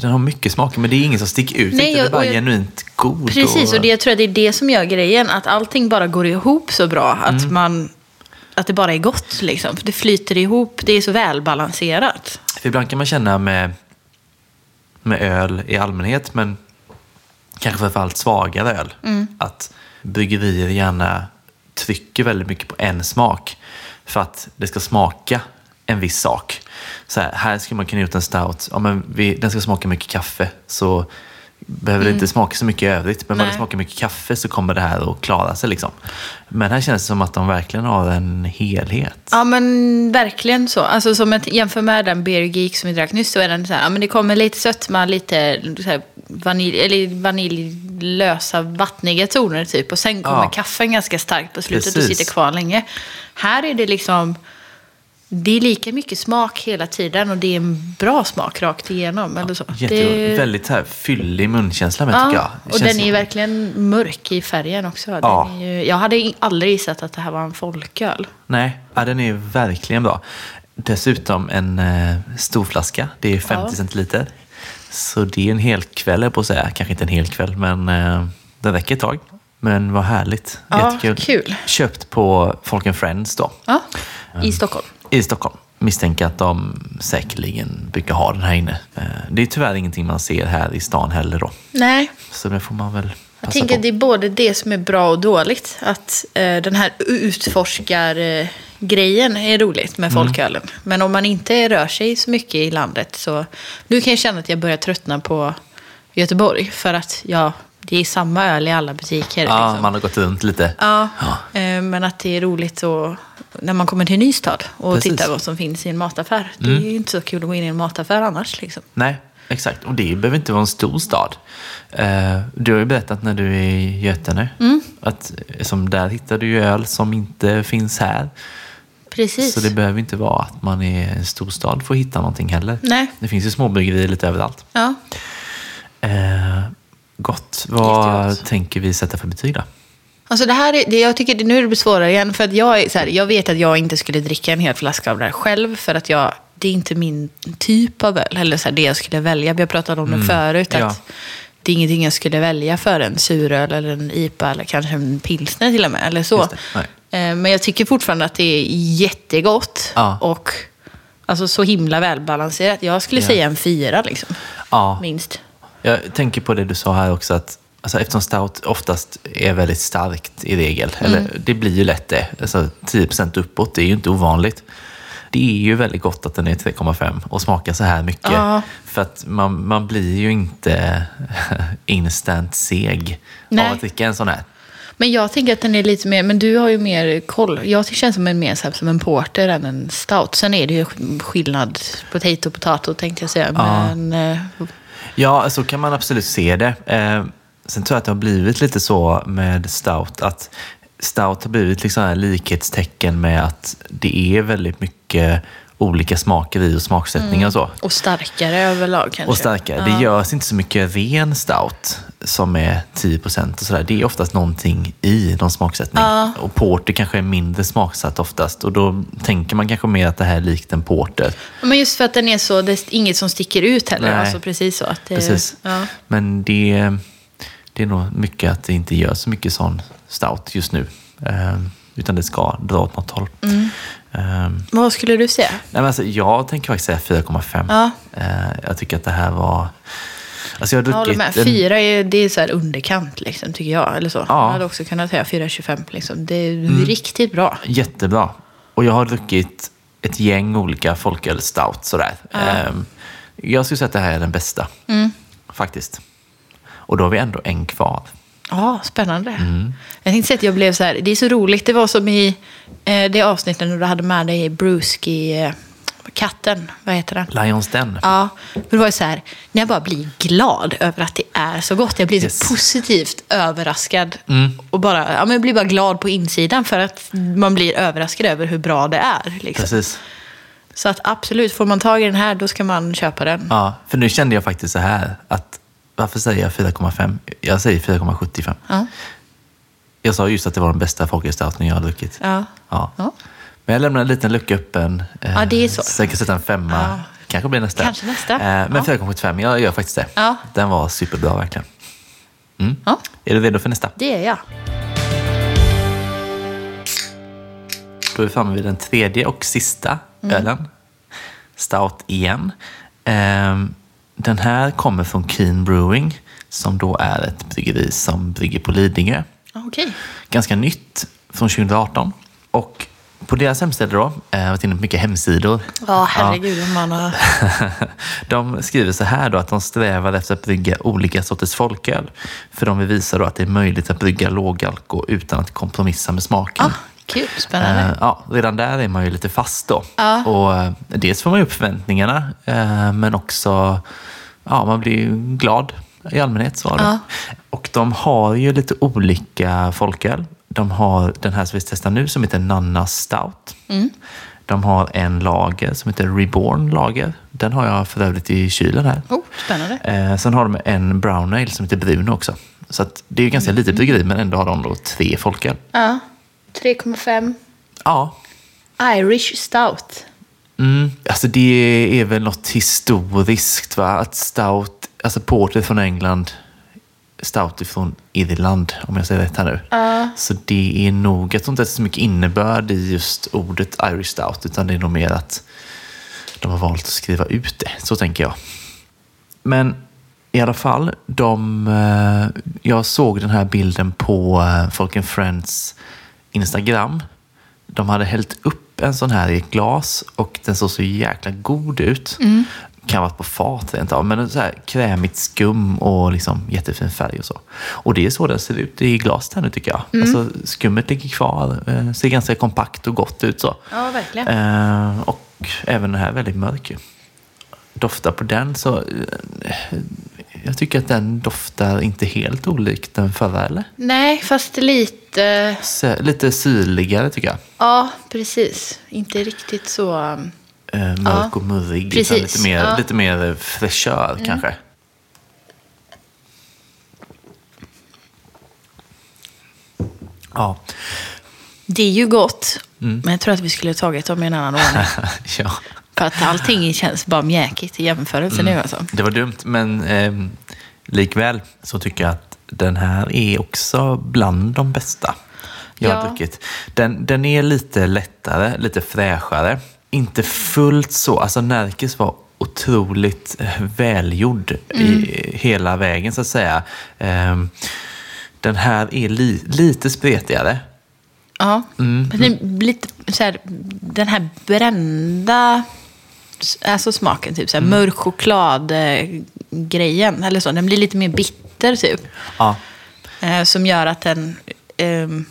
Den har mycket smaker, men det är ingen som sticker ut.
Mm. Nej,
inte. Det är
och-
bara
och jag-
genuint god.
precis. Och det jag tror jag det är det som gör grejen. Att allting bara går ihop så bra. Att,
Mm.
man, att det bara är gott liksom. För det flyter ihop. Det är så välbalanserat.
För ibland kan man känna med, med öl i allmänhet, men kanske framförallt svagare öl, att bryggerier gärna trycker väldigt mycket på en smak för att det ska smaka en viss sak. Så här, här skulle man kunna gjort en stout, ja, men vi, den ska smaka mycket kaffe, så behöver det inte smaka så mycket i övrigt, men om det
Nej.
smakar mycket kaffe så kommer det här att klara sig. Liksom. Men här känns det som att de verkligen har en helhet.
Ja men verkligen så. Alltså som ett, jämför med den Beer Geek som vi drack nyss så är den så här, ja men det kommer lite sötma, lite så här, vanilj, eller vaniljlösa vattniga toner typ. Och sen kommer
Ja.
kaffen ganska starkt på slutet och
Precis.
sitter kvar länge. Här är det liksom, det är lika mycket smak hela tiden och det är en bra smak rakt igenom. Eller så.
Jätte,
det,
Väldigt så här, fyllig munkänsla med tycker jag.
ja,
Det
och
känns
den är
som-
ju verkligen mörk i färgen också. Den
Ja.
är ju, jag hade i- aldrig gissat att det här var en folköl.
Nej, ja, den är verkligen bra. Dessutom en eh, stor flaska. Det är 50
Ja.
centiliter. Så det är en hel kväll, höll jag på att säga. Kanske inte en hel kväll, men eh, den räcker ett tag. Men vad härligt.
Ja,
Jättekul.
kul.
Köpt på Folk and Friends då.
Ja,
Mm.
i Stockholm.
I Stockholm. Misstänker att de säkerligen brukar ha den här inne. Eh, det är tyvärr ingenting man ser här i stan heller då.
Nej,
Så det får man väl passa
jag tänker
Alltså på.
det är både det som är bra och dåligt. Att eh, den här utforskargrejen eh, grejen är roligt med
Mm.
folkölen. Men om man inte rör sig så mycket i landet så... Nu kan jag känna att jag börjar tröttna på Göteborg. För att ja, det är samma öl i alla butiker.
Ja,
liksom.
man har gått runt lite.
Ja, eh, men att det är roligt att, när man kommer till en ny stad och
Precis. Mm.
tittar vad som finns i en mataffär. Det är ju inte så kul att gå in i en mataffär annars. Liksom.
Nej, exakt. Och det behöver inte vara en stor stad. Eh, Du har ju berättat när du är i Götene,
Mm.
att eh, som där hittar du ju öl som inte finns här.
Precis.
Så det behöver inte vara att man är en stor stad för att hitta någonting heller.
Nej.
Det finns ju småbryggerier lite överallt.
Ja.
Eh, gott. Vad
Jättegott.
tänker vi sätta för betyg då?
Alltså det här är, det, jag tycker det, nu är det blir svårare igen. För att jag, är, så här, jag vet att jag inte skulle dricka en hel flaska av det här själv. För att jag, det är inte min typ av öl. Eller så här, det jag skulle välja. Vi har pratat om det förut. Att
Mm. ja.
Det är ingenting jag skulle välja för en suröl eller en IPA eller kanske en pilsner till och med. Eller så.
Just det, nej.
Eh, Men jag tycker fortfarande att det är jättegott.
Ja.
Och alltså, så himla välbalanserat. Jag skulle
Ja.
säga en fyra liksom.
Ja,
Minst.
Jag tänker på det du sa här också, att alltså, eftersom stout oftast är väldigt starkt i regel,
Mm.
eller det blir ju lätt det, alltså, 10% uppåt, det är ju inte ovanligt. Det är ju väldigt gott att den är 3,5 och smakar så här mycket.
Ja.
För att man, man blir ju inte *laughs* instant seg
Nej.
av att dricka en sån här.
Men jag tänker att den är lite mer, men du har ju mer koll. Jag tycker känns som en mer så här, som en porter än en stout. Sen är det ju skillnad, potato potato tänkte jag säga. Men eh,
Ja, så kan man absolut se det. Eh, sen tror jag att det har blivit lite så med stout att stout har blivit liksom här likhetstecken med att det är väldigt mycket olika smaker i och smaksättningar och så.
och starkare överlag kanske.
Och starkare. Det görs inte så mycket ren stout som är 10 och sådär. Det är oftast någonting i någon smaksättning. Och porter kanske är mindre smaksatt oftast. Och då tänker man kanske mer att det här är likt en porter.
Men just för att den är så, det är inget som sticker ut heller.
Nej.
Alltså precis så. Att det,
Precis.
Ja.
Men det, det är nog mycket att det inte gör så mycket sån stout just nu. Eh, utan det ska dra åt något håll.
Mm.
Eh, nej,
Vad skulle du säga?
men alltså, jag tänker faktiskt säga 4,5.
Ja.
Eh, jag tycker att det här var... Alltså jag
Jag
har
håller
druckit...
med.
en-
Fyra är, det är så här underkant liksom, tycker jag. Eller så.
Ja. Mm.
Jag hade också kunnat säga 4,25. Liksom. Det är riktigt bra.
Jättebra. Och jag har druckit ett gäng olika folköl stout sådär. Ehm,
Mm.
jag skulle säga att det här är den bästa. Faktiskt. Och då har vi ändå en kvar.
Ja, spännande.
Mm.
Jag tänkte säga att jag blev så här, det är så roligt, det var som i eh, det avsnittet när du hade med dig Bruski, eh, katten, vad heter den?
Lions Den.
Ja, men det var ju så här, när jag bara blir glad över att det är så gott. Jag blir
Yes. Mm.
så positivt överraskad och bara, ja, men jag blir bara glad på insidan för att man blir överraskad över hur bra det är. Liksom.
Precis.
Så att absolut, får man tag i den här då ska man köpa den.
Ja, för nu kände jag faktiskt så här att varför säger jag 4,5? Jag säger 4,75.
Ja.
Jag sa just att det var den bästa folkölsstouten jag har druckit.
Ja. Ja.
Men jag lämnar en liten lucka öppen. eh,
Ja, det är så.
jag kan sätta en femma.
Ja.
Kanske blir nästa.
Kanske nästa.
Eh, Men
Ja.
4,75, jag gör faktiskt det.
Ja.
Den var superbra verkligen.
Ja,
Är du redo för nästa?
det är jag.
Då är vi framme vid den tredje och sista
Mm.
ölen. Stout igen. Ehm, Den här kommer från Keen Brewing som då är ett bryggeri som brygger på Lidingö.
Ja, Okej.
ganska nytt från 2018. Och på deras hemsida då, eh, jag har varit inne på mycket hemsidor.
Ja, herregud om man har...
*laughs* De skriver så här då att de strävar efter att brygga olika sorters folköl. För de vill visa då att det är möjligt att brygga lågalko utan att kompromissa med smaken.
Ja, kul, spännande.
Eh, ja, redan där är man ju lite fast då.
Ja.
Och, eh, dels får man ju upp förväntningarna, eh, men också ja, man blir ju glad i allmänhet. Så var det.
Ja.
Och de har ju lite olika folköl. De har den här som vi testar nu som heter Nanna Stout.
Mm.
De har en lager som heter Reborn Lager. Den har jag för övrigt i kylen här.
Oh, spännande.
Eh, sen har de en brown ale som heter Bruno också. Så att det är ju ganska
Mm.
litet bryggeri men ändå har de då tre folköl.
Ja. 3,5.
Ja,
Irish Stout.
Mm, alltså det är väl något historiskt va? Att stout, alltså porter från England, stout från Irland om jag säger rätt här nu. Så det är nog, jag tror inte att det är så mycket innebörd i just ordet Irish stout utan det är nog mer att de har valt att skriva ut det. Så tänker jag. Men i alla fall, de, eh, jag såg den här bilden på eh, Folk and Friends Instagram. De hade hällt upp en sån här i ett glas och den såg så jäkla god ut.
Mm.
Kan ha varit på fat rent av, men så här krämigt skum och liksom jättefin färg och så. Och det är så den ser ut i glas där nu tycker jag.
Mm.
Alltså, skummet ligger kvar, eh, ser ganska kompakt och gott ut så.
Ja, verkligen.
Eh, och även den här är väldigt mörk ju doftar på den så eh, jag tycker att den doftar inte helt olikt den förra eller?
Nej, fast lite...
Sö- Lite syrligare tycker jag.
Ja, precis. Inte riktigt så... um,
Eh, Mörk och murrig. utan
Precis,
Lite mer,
ja. Mm.
lite mer fräschör kanske. Ja. *laughs*
Det är ju gott, men jag tror att vi skulle ha tagit dem i en
*laughs*
annan ordning.
ja,
För att allting känns bara mjäkigt i jämförelse nu alltså.
det var dumt men eh, likväl så tycker jag att den här är också bland de bästa jag har
Ja.
druckit. druckit. Den, den är lite lättare, lite fräschare. Inte fullt så. Alltså Närkes var otroligt eh, välgjord i, hela vägen så att säga. Ehm, Den här är li, lite spretigare.
Ja. Men det blir lite så här, den här brända s- alltså smaken, typ så här, mörk choklad-grejen, eller så. Den blir lite mer bitter typ.
Ja,
Eh, som gör att den... ehm,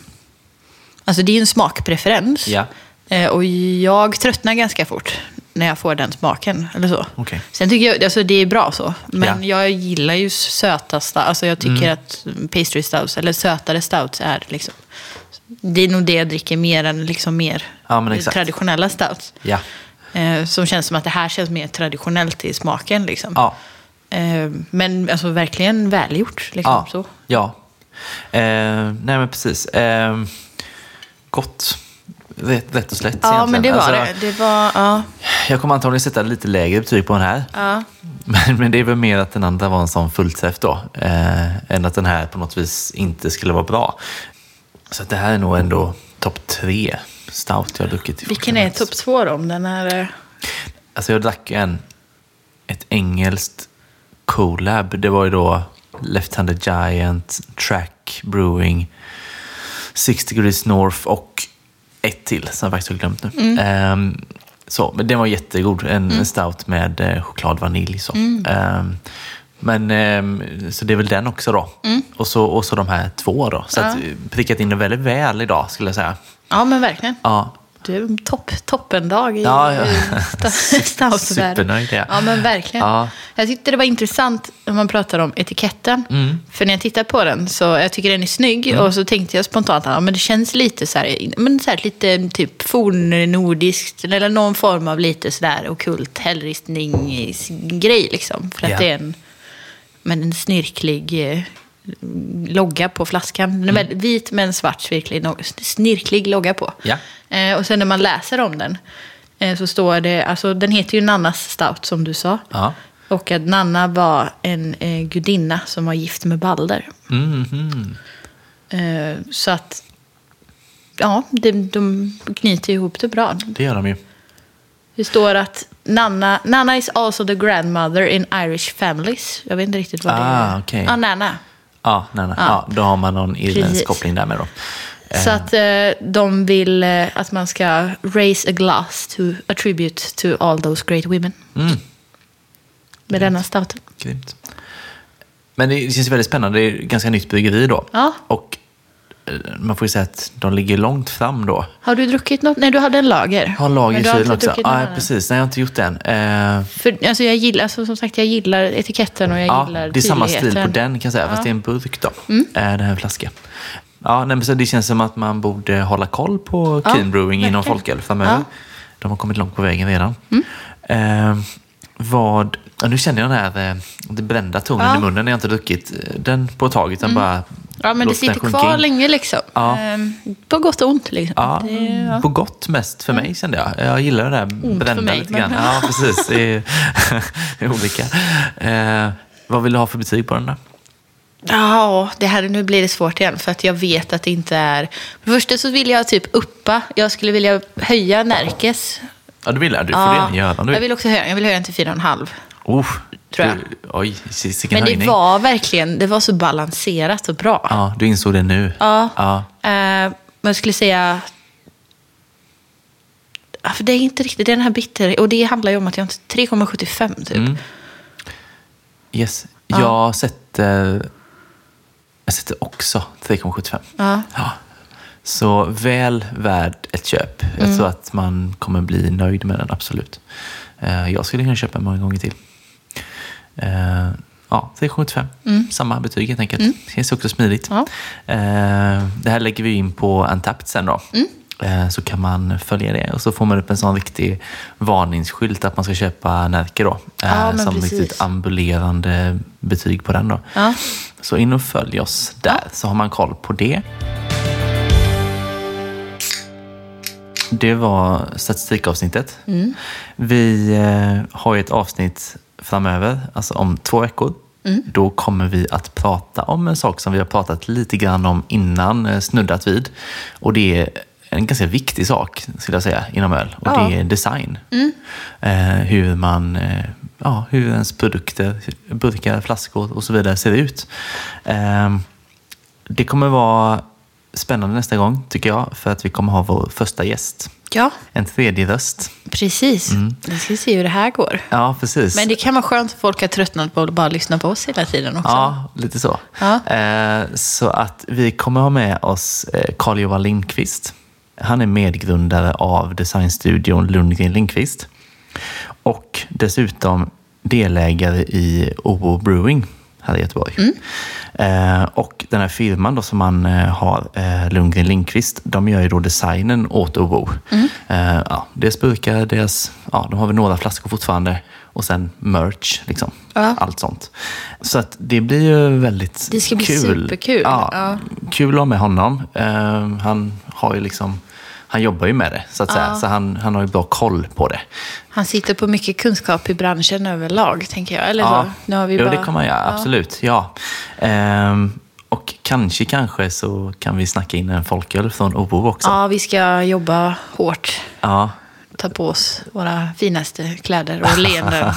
alltså det är ju en smakpreferens.
Ja.
Eh, och jag tröttnar ganska fort när jag får den smaken. Eller så.
Okej.
Sen tycker jag, alltså det är bra så. Men
Ja. Mm.
jag gillar ju söta stouts. Alltså jag tycker att pastry stouts, eller sötare stouts, är liksom... Det är nog det jag dricker mer än liksom mer
Ja, men exakt.
traditionella stouts.
ja.
Eh, som känns som att det här känns mer traditionellt i smaken. Liksom.
ja.
Eh, men alltså verkligen välgjort. Liksom,
Ja.
så.
ja. Eh, nej men precis. Ehm, gott. Rätt, rätt och slätt
Ja,
egentligen.
men det var
Alltså,
det. Det var, ja.
Jag kommer antagligen sätta lite lägre betyg på den här.
Ja.
Men, men det är väl mer att den andra var en sån fullträff då. Eh, än att den här på något vis inte skulle vara bra. Så att det här är nog ändå topp tre stout jag har druckit. i
Vilken är
Fortnite.
topp två då? Om den är... eh,
Alltså jag drack ju en, ett engelskt collab. Det var ju då Left-Handed Giant, Track Brewing, Six Degrees North och ett till som jag faktiskt har glömt nu. Ehm, så, men den var jättegod. En en stout med eh, choklad vanilj. Så. Ehm, Men, ehm, så det är väl den också då. Och, så, och så de här två då. Så att, eh, prickat in det väldigt väl idag skulle jag säga.
Ja, men verkligen.
Ja,
Du är en topp, toppendag i
Ja, ja.
i
*laughs*
sta- Stausvärlden.
Supernöjd är jag.
Ja, men verkligen.
Ja.
Jag tyckte det var intressant när man pratar om etiketten.
Mm.
För när jag tittar på den så jag tycker den är snygg och så tänkte jag spontant att ja, men det känns lite så här, men så här, lite typ fornnordiskt eller någon form av lite sådär ockult hällristningsgrej liksom. För att
Ja.
det är en, men en snirklig eh, logga på flaskan. Den är väldigt vit med en svart snirklig, snirklig logga på.
Mm. Ja.
Eh, och sen när man läser om den eh, så står det, alltså den heter ju Nannas Stout som du sa.
Ja.
Och att Nanna var en eh, gudinna som var gift med Balder.
Mhm,
Eh, så att, ja, de, de knyter ihop det bra.
det gör de ju.
Det står att Nanna, Nanna is also the grandmother in Irish families. Jag vet inte riktigt vad det
Ah,
är.
okej.
Ja, Nanna.
Ja, nej, nej.
Ja.
Ja, då har man någon irländsk
Precis.
koppling där med då.
Så att eh, de vill eh, att man ska raise a glass to a tribute to all those great women.
Mm.
Med denna stouten.
Grymt. Men det känns väldigt spännande. Det är ett ganska nytt bryggeri då.
Ja.
Och eh, man får ju säga att de ligger långt fram då.
Har du druckit något? Nej, du hade en lager.
Har lager
Men
i
du har
kylen
inte
också.
druckit någon
Ja,
annan.
precis. Nej, jag har inte gjort det än. Eh,
För, alltså, jag gillar, alltså, som sagt, jag gillar etiketten och jag
ja, det
gillar
är samma stil på
tydligheten. Mm.
den kan jag säga, fast det är en burk då. Eh, det här är en flaska. Ja, nej, men så det känns som att man borde hålla koll på
Ja,
Keen Brewing inom
verkligen.
folköl framöver.
Ja. Mm.
De har kommit långt på vägen redan. Eh, vad, ja, nu känner jag den här eh, den brända tonen
Ja. Mm.
i munnen när jag inte druckit eh, den på ett tag, utan bara
Ja, men det
låter den
sitter
sjunka
kvar
in.
länge liksom.
Ja.
Ehm, på gott och ont liksom.
Ja,
Det, ja. Mm.
på gott mest för mig kände jag. Jag gillar det där brända
mig,
lite
men-
grann. Ja, precis. Det är, *laughs* det är olika. Eh, vad vill du ha för betyg på den där?
Ja, det här, nu blir det svårt igen för att jag vet att det inte är... För det första så vill jag typ uppa. Jag skulle vilja höja Närkes.
Ja, du vill det. Du får det göra om du
jag vill också höja, jag vill höja den till 4,5.
Oh,
Tror jag.
Du, oj, si- vilken
Men
höjning.
det var verkligen, det var så balanserat och bra.
Ja, du insåg det nu.
Ja.
ja.
Eh, men jag skulle säga... Ja, för det är inte riktigt, det är den här bitter... Och det handlar ju om att jag inte... 3,75 typ.
Mm. Yes.
Ja.
Jag sätter... Jag sätter också 3,75.
Ja.
Så väl värd ett köp.
Mm.
Jag tror att man kommer bli nöjd med den, absolut. Eh, Jag skulle kunna köpa den många gånger till. Eh, Ja, 3,75. Samma betyg helt enkelt. Känns också smidigt.
Mm. Ja.
Eh, Det här lägger vi in på Untapped sen då.
Mm.
Eh, Så kan man följa det och så får man upp en sån riktig varningsskylt att man ska köpa Närke då. eh,
Ja, men
som
precis.
riktigt ambulerande betyg på den då.
Ja.
Så in och följ oss där så har man koll på det. Det var statistikavsnittet. Vi eh, har ju ett avsnitt framöver, alltså om två veckor. Då kommer vi att prata om en sak som vi har pratat lite grann om innan, eh, snuddat vid. Och det är en ganska viktig sak, skulle jag säga, inom öl. Och
Ja.
det är design. Eh, hur man... Eh, Ja, hur ens produkter, burkar, flaskor och så vidare ser ut. Ehm, det kommer vara spännande nästa gång, tycker jag, för att vi kommer ha vår första gäst.
ja,
En tredje röst.
precis.
Mm.
Vi ska se hur det här går.
Ja, precis.
Men det kan vara skönt att folk har tröttnat på att bara lyssna på oss hela tiden också.
Ja, lite så.
Ja.
Eh, så att vi kommer ha med oss eh, Carl-Johan Lindqvist. Han är medgrundare av designstudion Lundgren Lindqvist. Och dessutom delägare i OO Brewing här i Göteborg.
Mm.
Eh, och den här firman då som han eh, har, eh, Lundgren Lindqvist, de gör ju då designen åt OO.
Mm.
Eh, ja, deras burkar, deras, ja, de har väl några flaskor fortfarande. Och sen merch, liksom.
Ja.
allt sånt. Så att det blir ju väldigt
Det ska bli
kul.
superkul.
Ja,
Ja.
Kul att ha med honom. Eh, han har ju liksom han jobbar ju med det, så att säga. Så han, han har ju bra koll på det.
Han sitter på mycket kunskap i branschen överlag, tänker jag. Eller så. Nu har vi
jo,
bara...
det kommer jag göra. Absolut. Ja. Ehm, och kanske, kanske så kan vi snacka in en folköl från Obo också.
Ja, vi ska jobba hårt.
Ja.
Ta på oss våra finaste
*laughs*
kläder och leenden.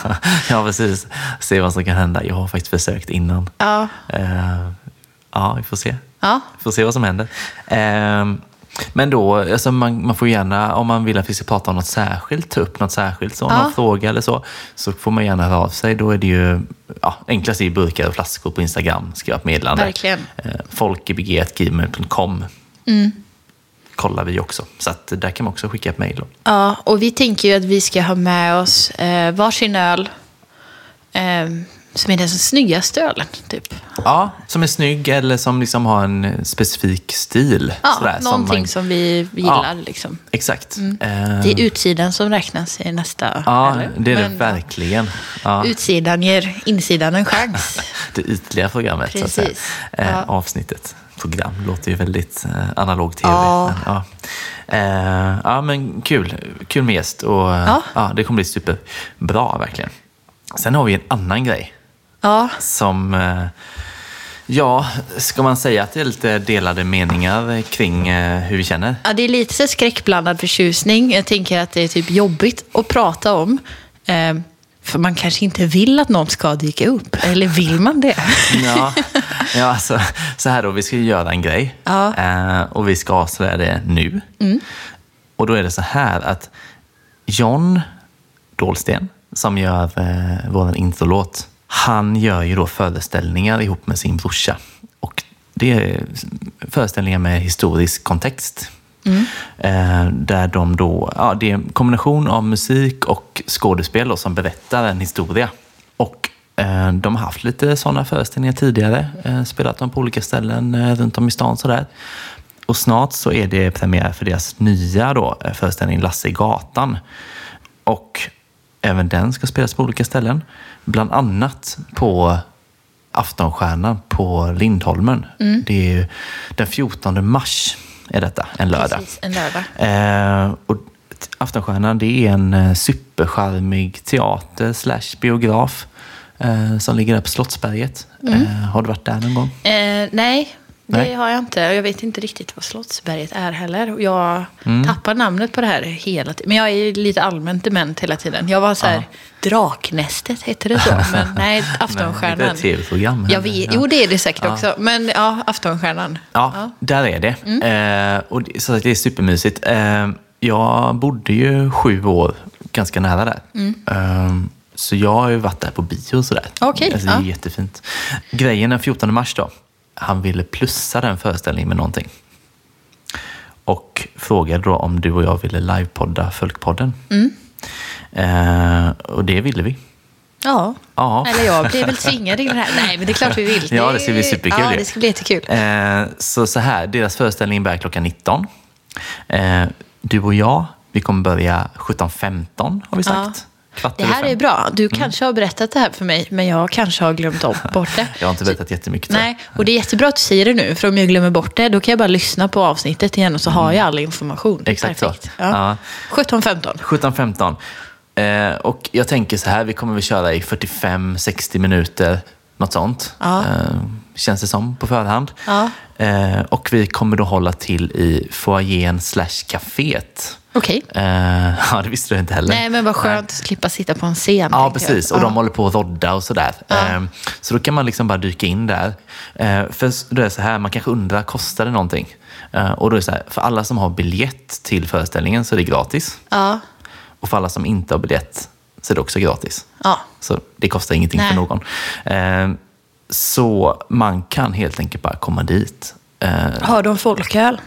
ja, precis. Se vad som kan hända. Jag har faktiskt försökt innan.
ja.
Ehm, ja, vi får se.
ja,
Vi får se vad som händer. Ehm, Men då, alltså man, man får gärna, om man vill att vi ska prata om något särskilt, ta upp något särskilt, så om
Ja.
någon fråga eller så, så får man gärna höra av sig. Då är det ju, ja, enklast är ju burkar och flaskor på Instagram, skriva ett meddelande.
Verkligen. Mm.
Eh, Folkebg.gmail.com kollar vi också, så att där kan man också skicka ett mejl. då.
Ja, och vi tänker ju att vi ska ha med oss eh, varsin öl. Eh, som är den snyggaste ölen, typ.
Ja, som är snygg eller som liksom har en specifik stil.
Ja,
sådär, som
någonting som,
man-
vi gillar. Liksom.
Exakt. Eh,
Det är utsidan som räknas i nästa.
ja,
eller?
det är det
Men
verkligen. Ja.
Utsidan ger insidan en chans.
*laughs* det ytliga programmet. Så att
Precis.
säga. Eh,
Ja.
Avsnittet. Program låter ju väldigt eh, analog tv.
Ja.
Men, ja. Eh, ja, men kul. Kul med gäst. Och, eh,
Ja.
Ja, det kommer bli superbra verkligen. Sen har vi en annan grej
ja,
som, eh, ja, ska man säga att det är lite delade meningar kring eh, hur vi känner?
ja, det är lite så skräckblandad förtjusning. Jag tänker att det är typ jobbigt att prata om. Eh, för man kanske inte vill att någon ska dyka upp. Eller vill man det?
Ja,
*laughs*
ja alltså, så här då, vi ska ju göra en grej
Ja.
eh, och vi ska avslöja det nu. Och då är det så här att John Dahlsten, som gör eh, vår introlåt, han gör ju då föreställningar ihop med sin brorsa. Och det är föreställningar med historisk kontext. Eh, där de då, ja, det är en kombination av musik och skådespel då, som berättar en historia. Och eh, de har haft lite sådana föreställningar tidigare. Eh, spelat dem på olika ställen eh, runt om i stan sådär. Och snart så är det premiär för deras nya då, eh, föreställning Lasse i gatan. Och även den ska spelas på olika ställen. Bland annat på Aftonstjärnan på Lindholmen.
Mm.
Det är ju den 14 mars är detta, en lördag.
Precis, en lördag.
Eh, och t- Aftonstjärnan det är en eh, supercharmig teater slash biograf eh, som ligger där på Slottsberget. Eh, har du varit där någon gång?
Eh, nej, det
Nej.
har jag inte. Jag vet inte riktigt vad Slottsberget är heller. Och Jag
Mm.
tappar namnet på det här hela tiden. Men jag är lite allmänt dement hela tiden. Jag var så här, Draknästet
*laughs*
heter det så. Men nej,
Nej, det är
Aftonstjärnan.
ett tv-program.
jag vet, Jo, det är det säkert också. Men ja, Aftonstjärnan.
Ja, där är det.
Mm.
Eh, och det, så att det är supermysigt. Eh, jag bodde ju sju år ganska nära där.
Mm.
Eh, så jag har ju varit där på bio och sådär.
Okej,
alltså, det är
ja.
jättefint. Grejen den 14 mars då. Han ville plussa den föreställningen med någonting. Och frågade då om du och jag ville livepodda Folkpodden.
Mm.
Eh, och det ville vi.
Ja.
Ja.
Eller jag blir väl tvingad in i det här. Nej, men det är klart vi
*laughs*
vill.
Ja, det ska bli superkul
Ja,
ju.
det ska bli jättekul.
Eh, så, så här, deras föreställning börjar klockan 19. Eh, du och jag, vi kommer börja 17.15 har vi sagt. Kvart
Det
över
här
fem.
är bra. Du
Mm.
kanske har berättat det här för mig, men jag kanske har glömt om bort
*laughs*
det.
Jag har inte vetat jättemycket. tror jag.
Nej, och det är jättebra att du säger det nu, för om jag glömmer bort det, då kan jag bara lyssna på avsnittet igen och så har jag all information.
Exakt så.
Perfekt. Ja. 17-15.
17.15. Eh, och jag tänker så här, vi kommer väl köra i 45-60 minuter, något sånt.
Ja.
Eh, känns det som på förhand.
Ja.
Eh, och vi kommer då hålla till i foajén slash kaféet.
Okej.
Eh, *laughs* ja, det visste du inte heller.
Nej, men vad skönt att slippa sitta på en scen.
Ja,
tänker jag.
precis. Och de håller på att rodda och sådär. Ehm, Så då kan man liksom bara dyka in där. Ehm, För s- då är det så här, man kanske undrar, kostar det någonting? Ehm, Och då är det så här, för alla som har biljett till föreställningen så är det gratis.
Ja.
Och för alla som inte har biljett så är det också gratis.
ja.
Så det kostar ingenting
Nej.
för någon. Ehm, Så man kan helt enkelt bara komma dit. Ehm,
Har de folköl?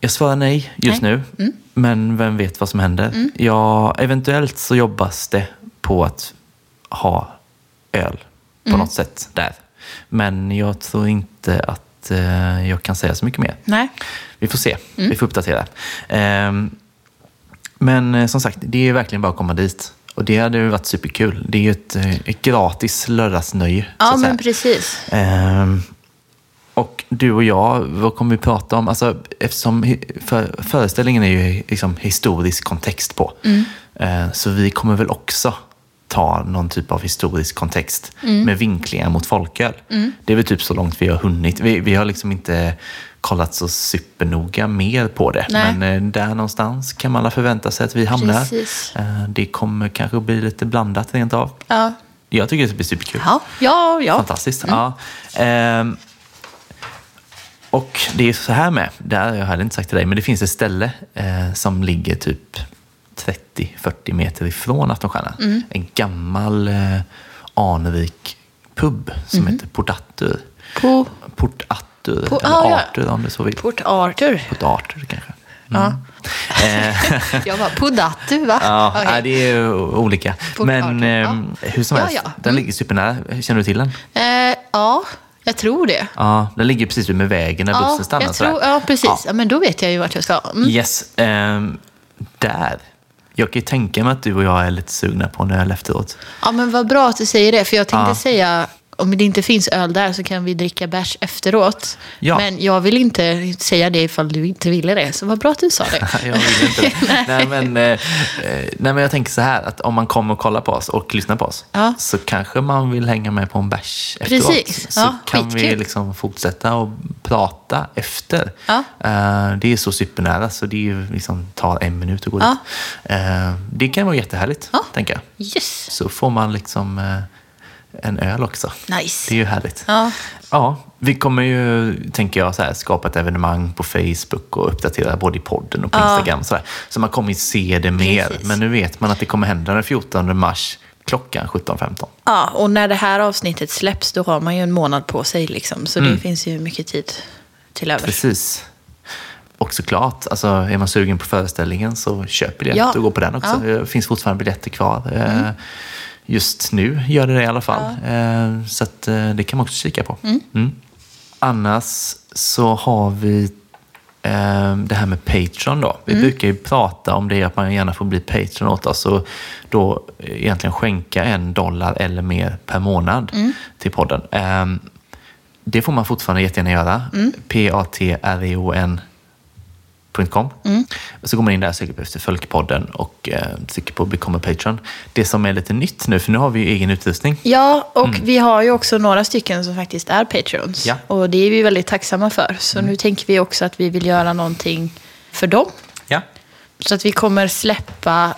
jag svarar nej just
Nej. Mm.
nu, men vem vet vad som händer. Ja, eventuellt så jobbas det på att ha öl på
Mm.
något sätt där. Men jag tror inte att eh, jag kan säga så mycket mer.
Nej.
Vi får se,
Mm.
vi får uppdatera. Ehm, men eh, som sagt, det är verkligen bara att komma dit. Och det hade ju varit superkul. Det är ju ett, eh, ett gratis lördagsnöje. så
Ja,
att säga.
men precis.
Ehm, och du och jag, vad kommer vi prata om? Alltså, eftersom hi- för, föreställningen är ju liksom historisk kontext på.
Mm.
Eh, så vi kommer väl också ta någon typ av historisk kontext
Mm.
med vinklingar mot folköl. Det är väl typ så långt vi har hunnit. Vi, vi har liksom inte kollat så supernoga mer på det.
Nej.
Men eh, där någonstans kan alla förvänta sig att vi hamnar.
Precis.
Eh, det kommer kanske bli lite blandat rent av.
Ja.
Jag tycker det blir superkul.
Ja, ja. ja.
Fantastiskt. Ja. Ehm, Och det är så här med, det här har jag heller inte sagt till dig, men det finns ett ställe eh, som ligger typ 30-40 meter ifrån Aftonstjärnan.
Mm.
En gammal eh, Anevik pub som
Mm-hmm.
heter Port Arthur.
På
Port Arthur,
Po-
eller
ah, ja.
Arthur om du så vill.
Port Arthur.
Port Arthur kanske.
Ja. *laughs* jag bara, Podatu va?
Ja,
Okej.
nej, det är ju olika.
Port
men
Arthur,
eh,
ja.
hur som
Ja,
helst,
ja. Mm.
den ligger supernära. Känner du till den?
eh, ja, jag tror det.
Ja, den ligger precis vid med vägen där
Ja,
bussen stannar.
jag
sådär.
tror, ja, precis. Ja. men då vet jag ju vart jag ska. Mm.
Yes. ehm, där. Jag kan ju tänka mig att du och jag är lite sugna på en öl
*laughs*
efteråt.
Ja, men vad bra att du säger det, för jag tänkte
Ja.
säga om det inte finns öl där så kan vi dricka bärs efteråt.
Ja.
Men jag vill inte säga det ifall du inte ville det, så vad bra att du sa
*laughs*
det.
jag vill inte det. *laughs* nej, men, eh, eh, nej, men jag tänker så här att om man kommer och kollar på oss och lyssnar på oss
Ja.
så kanske man vill hänga med på en bärs efteråt.
Precis.
Så
Ja,
kan vi
skitkul.
liksom fortsätta och prata efter.
Ja.
Eh, det är så supernära så det är ju liksom, tar en minut att gå
Ja.
dit. Eh, det kan vara jättehärligt,
Ja.
tänker jag.
Yes,
Så får man liksom eh, en öl också. Det är
nice.
ju härligt.
Ja.
Ja, vi kommer ju, tänker jag, så här, skapa ett evenemang på Facebook och uppdatera både i podden och på Instagram. Så, här. så man kommer ju se det mer.
Precis.
Men nu vet man att det kommer hända den 14 mars klockan 17.15.
ja, och när det här avsnittet släpps då har man ju en månad på sig liksom, så det finns ju mycket tid till övers.
Mm. Precis. Och såklart, alltså, är man sugen på föreställningen så köp biljett
Ja.
och gå på den också.
Ja. Mm.
Det finns fortfarande biljetter kvar. Eh, Just nu gör det det i alla fall. Eh, Så att, eh, det kan man också kika på. Mm. Annars så har vi eh, det här med Patreon då.
Mm.
Vi brukar ju prata om det, att man gärna får bli Patreon åt oss och då egentligen skänka en dollar eller mer per månad
Mm.
till podden. Eh, Det får man fortfarande jättegärna göra.
Mm.
P-A-T-R-E-O-N .com.
Mm.
Så går man in där, söker på efter Folkpodden och eh, trycker på Become a Patreon. Det som är lite nytt nu, för nu har vi ju egen utrustning.
Ja, och vi har ju också några stycken som faktiskt är
Mm.
Patreons.
Ja. Mm.
Och det är vi väldigt tacksamma för. Så nu tänker vi också att vi vill göra någonting för dem.
Ja.
Så att vi kommer släppa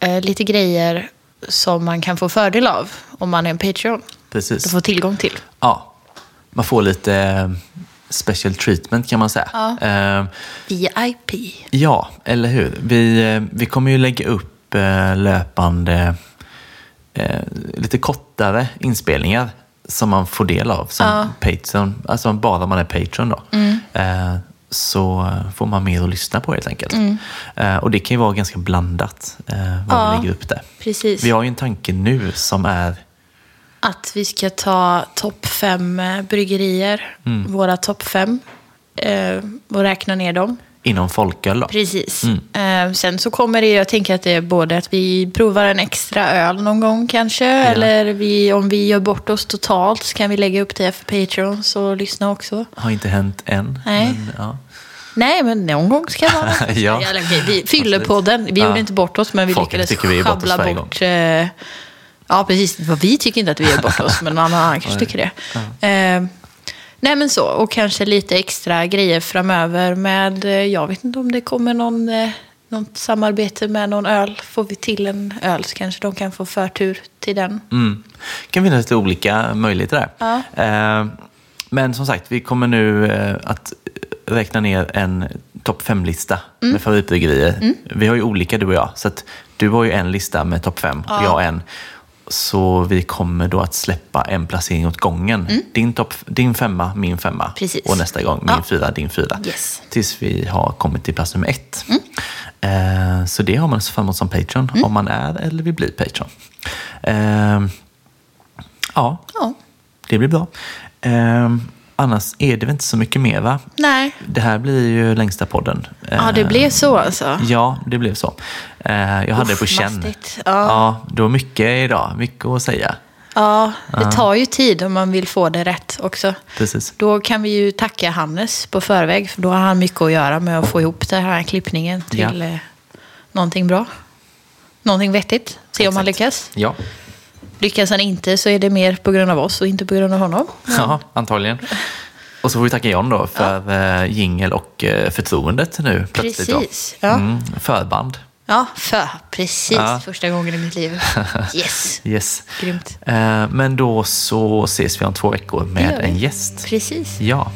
eh, lite grejer som man kan få fördel av om man är en Patreon.
Precis.
Du får tillgång till.
Ja. Man får lite eh, special treatment kan man säga.
Ja.
Eh,
VIP.
Ja, eller hur? Vi, eh, vi kommer ju lägga upp eh, löpande eh, lite kortare inspelningar som man får del av som Patreon, alltså bara man är Patreon då.
Mm.
Eh, så får man mer att lyssna på helt enkelt. Eh, och det kan ju vara ganska blandat eh, vad
Mm. Ja.
vi lägger upp där.
Precis.
Vi har ju en tanke nu som är
Att vi ska ta topp fem eh, bryggerier,
Mm.
våra topp fem, eh, och räkna ner dem.
inom folköl då.
Precis.
Mm.
Eh, sen så kommer det, jag tänker att det är både att vi provar en extra öl någon gång kanske, eller vi, om vi gör bort oss totalt så kan vi lägga upp det för Patreons och lyssna också.
Har inte hänt än.
Nej.
Men, ja.
Nej, men någon gång
*laughs*
ska det vara.
Ja.
Eller, okej, vi fyller podden. Vi
Ja.
gjorde inte bort oss, men vi
Folk tycker
lyckades
vi gör bort oss
sjabbla
varje
bort... Eh, ja, precis. Vad Vi tycker inte att vi gör bort oss, men någon
*laughs*
annan kanske tycker det. Eh, nej, men så. Och kanske lite extra grejer framöver med... Eh, jag vet inte om det kommer någon... Eh, något samarbete med någon öl. Får vi till en öl så kanske de kan få förtur till den.
Mm. Det kan finnas lite olika möjligheter där. Eh, men som sagt, vi kommer nu eh, att räkna ner en topp fem-lista
Mm.
med favoritbryggerier. Vi har ju olika du och jag, så att du har ju en lista med topp fem och jag en. Så vi kommer då att släppa en placering åt gången. Din, topp, din femma, min femma
Mm. Precis.
och nästa gång min
Ja.
fyra, din fyra.
Yes. Mm.
Tills vi har kommit till plats nummer ett. Eh, så det har man alltså fram emot som Patreon, om man är eller vill bli Patreon. Eh, ja,
Ja.
det blir bra. Eh, annars är det väl inte så mycket mer va?
Nej.
Det här blir ju längsta podden. Eh,
Ja, det blev så alltså.
Ja, det blev så. Eh, jag hade det på känn.
mastigt. Ja.
Ja, det var mycket idag. Mycket att säga.
Ja, det tar ju tid om man vill få det rätt också.
Precis.
Då kan vi ju tacka Hannes på förväg, för då har han mycket att göra med att få ihop den här klippningen till
Ja.
eh, någonting bra. Någonting vettigt. Se om han
Exakt.
lyckas.
Ja,
Lyckas han inte så är det mer på grund av oss och inte på grund av honom.
ja antagligen. Och så får vi tacka John då för ja. jingel och eh, förtroendet nu plötsligt. då.
Precis, ja.
Mm, förband.
Ja, för precis.
Ja.
Första gången i
*laughs*
mitt liv. Yes,
Yes.
grymt.
Eh, Men då så ses vi om två veckor
Det
med
gör vi.
en gäst.
Precis.
Ja.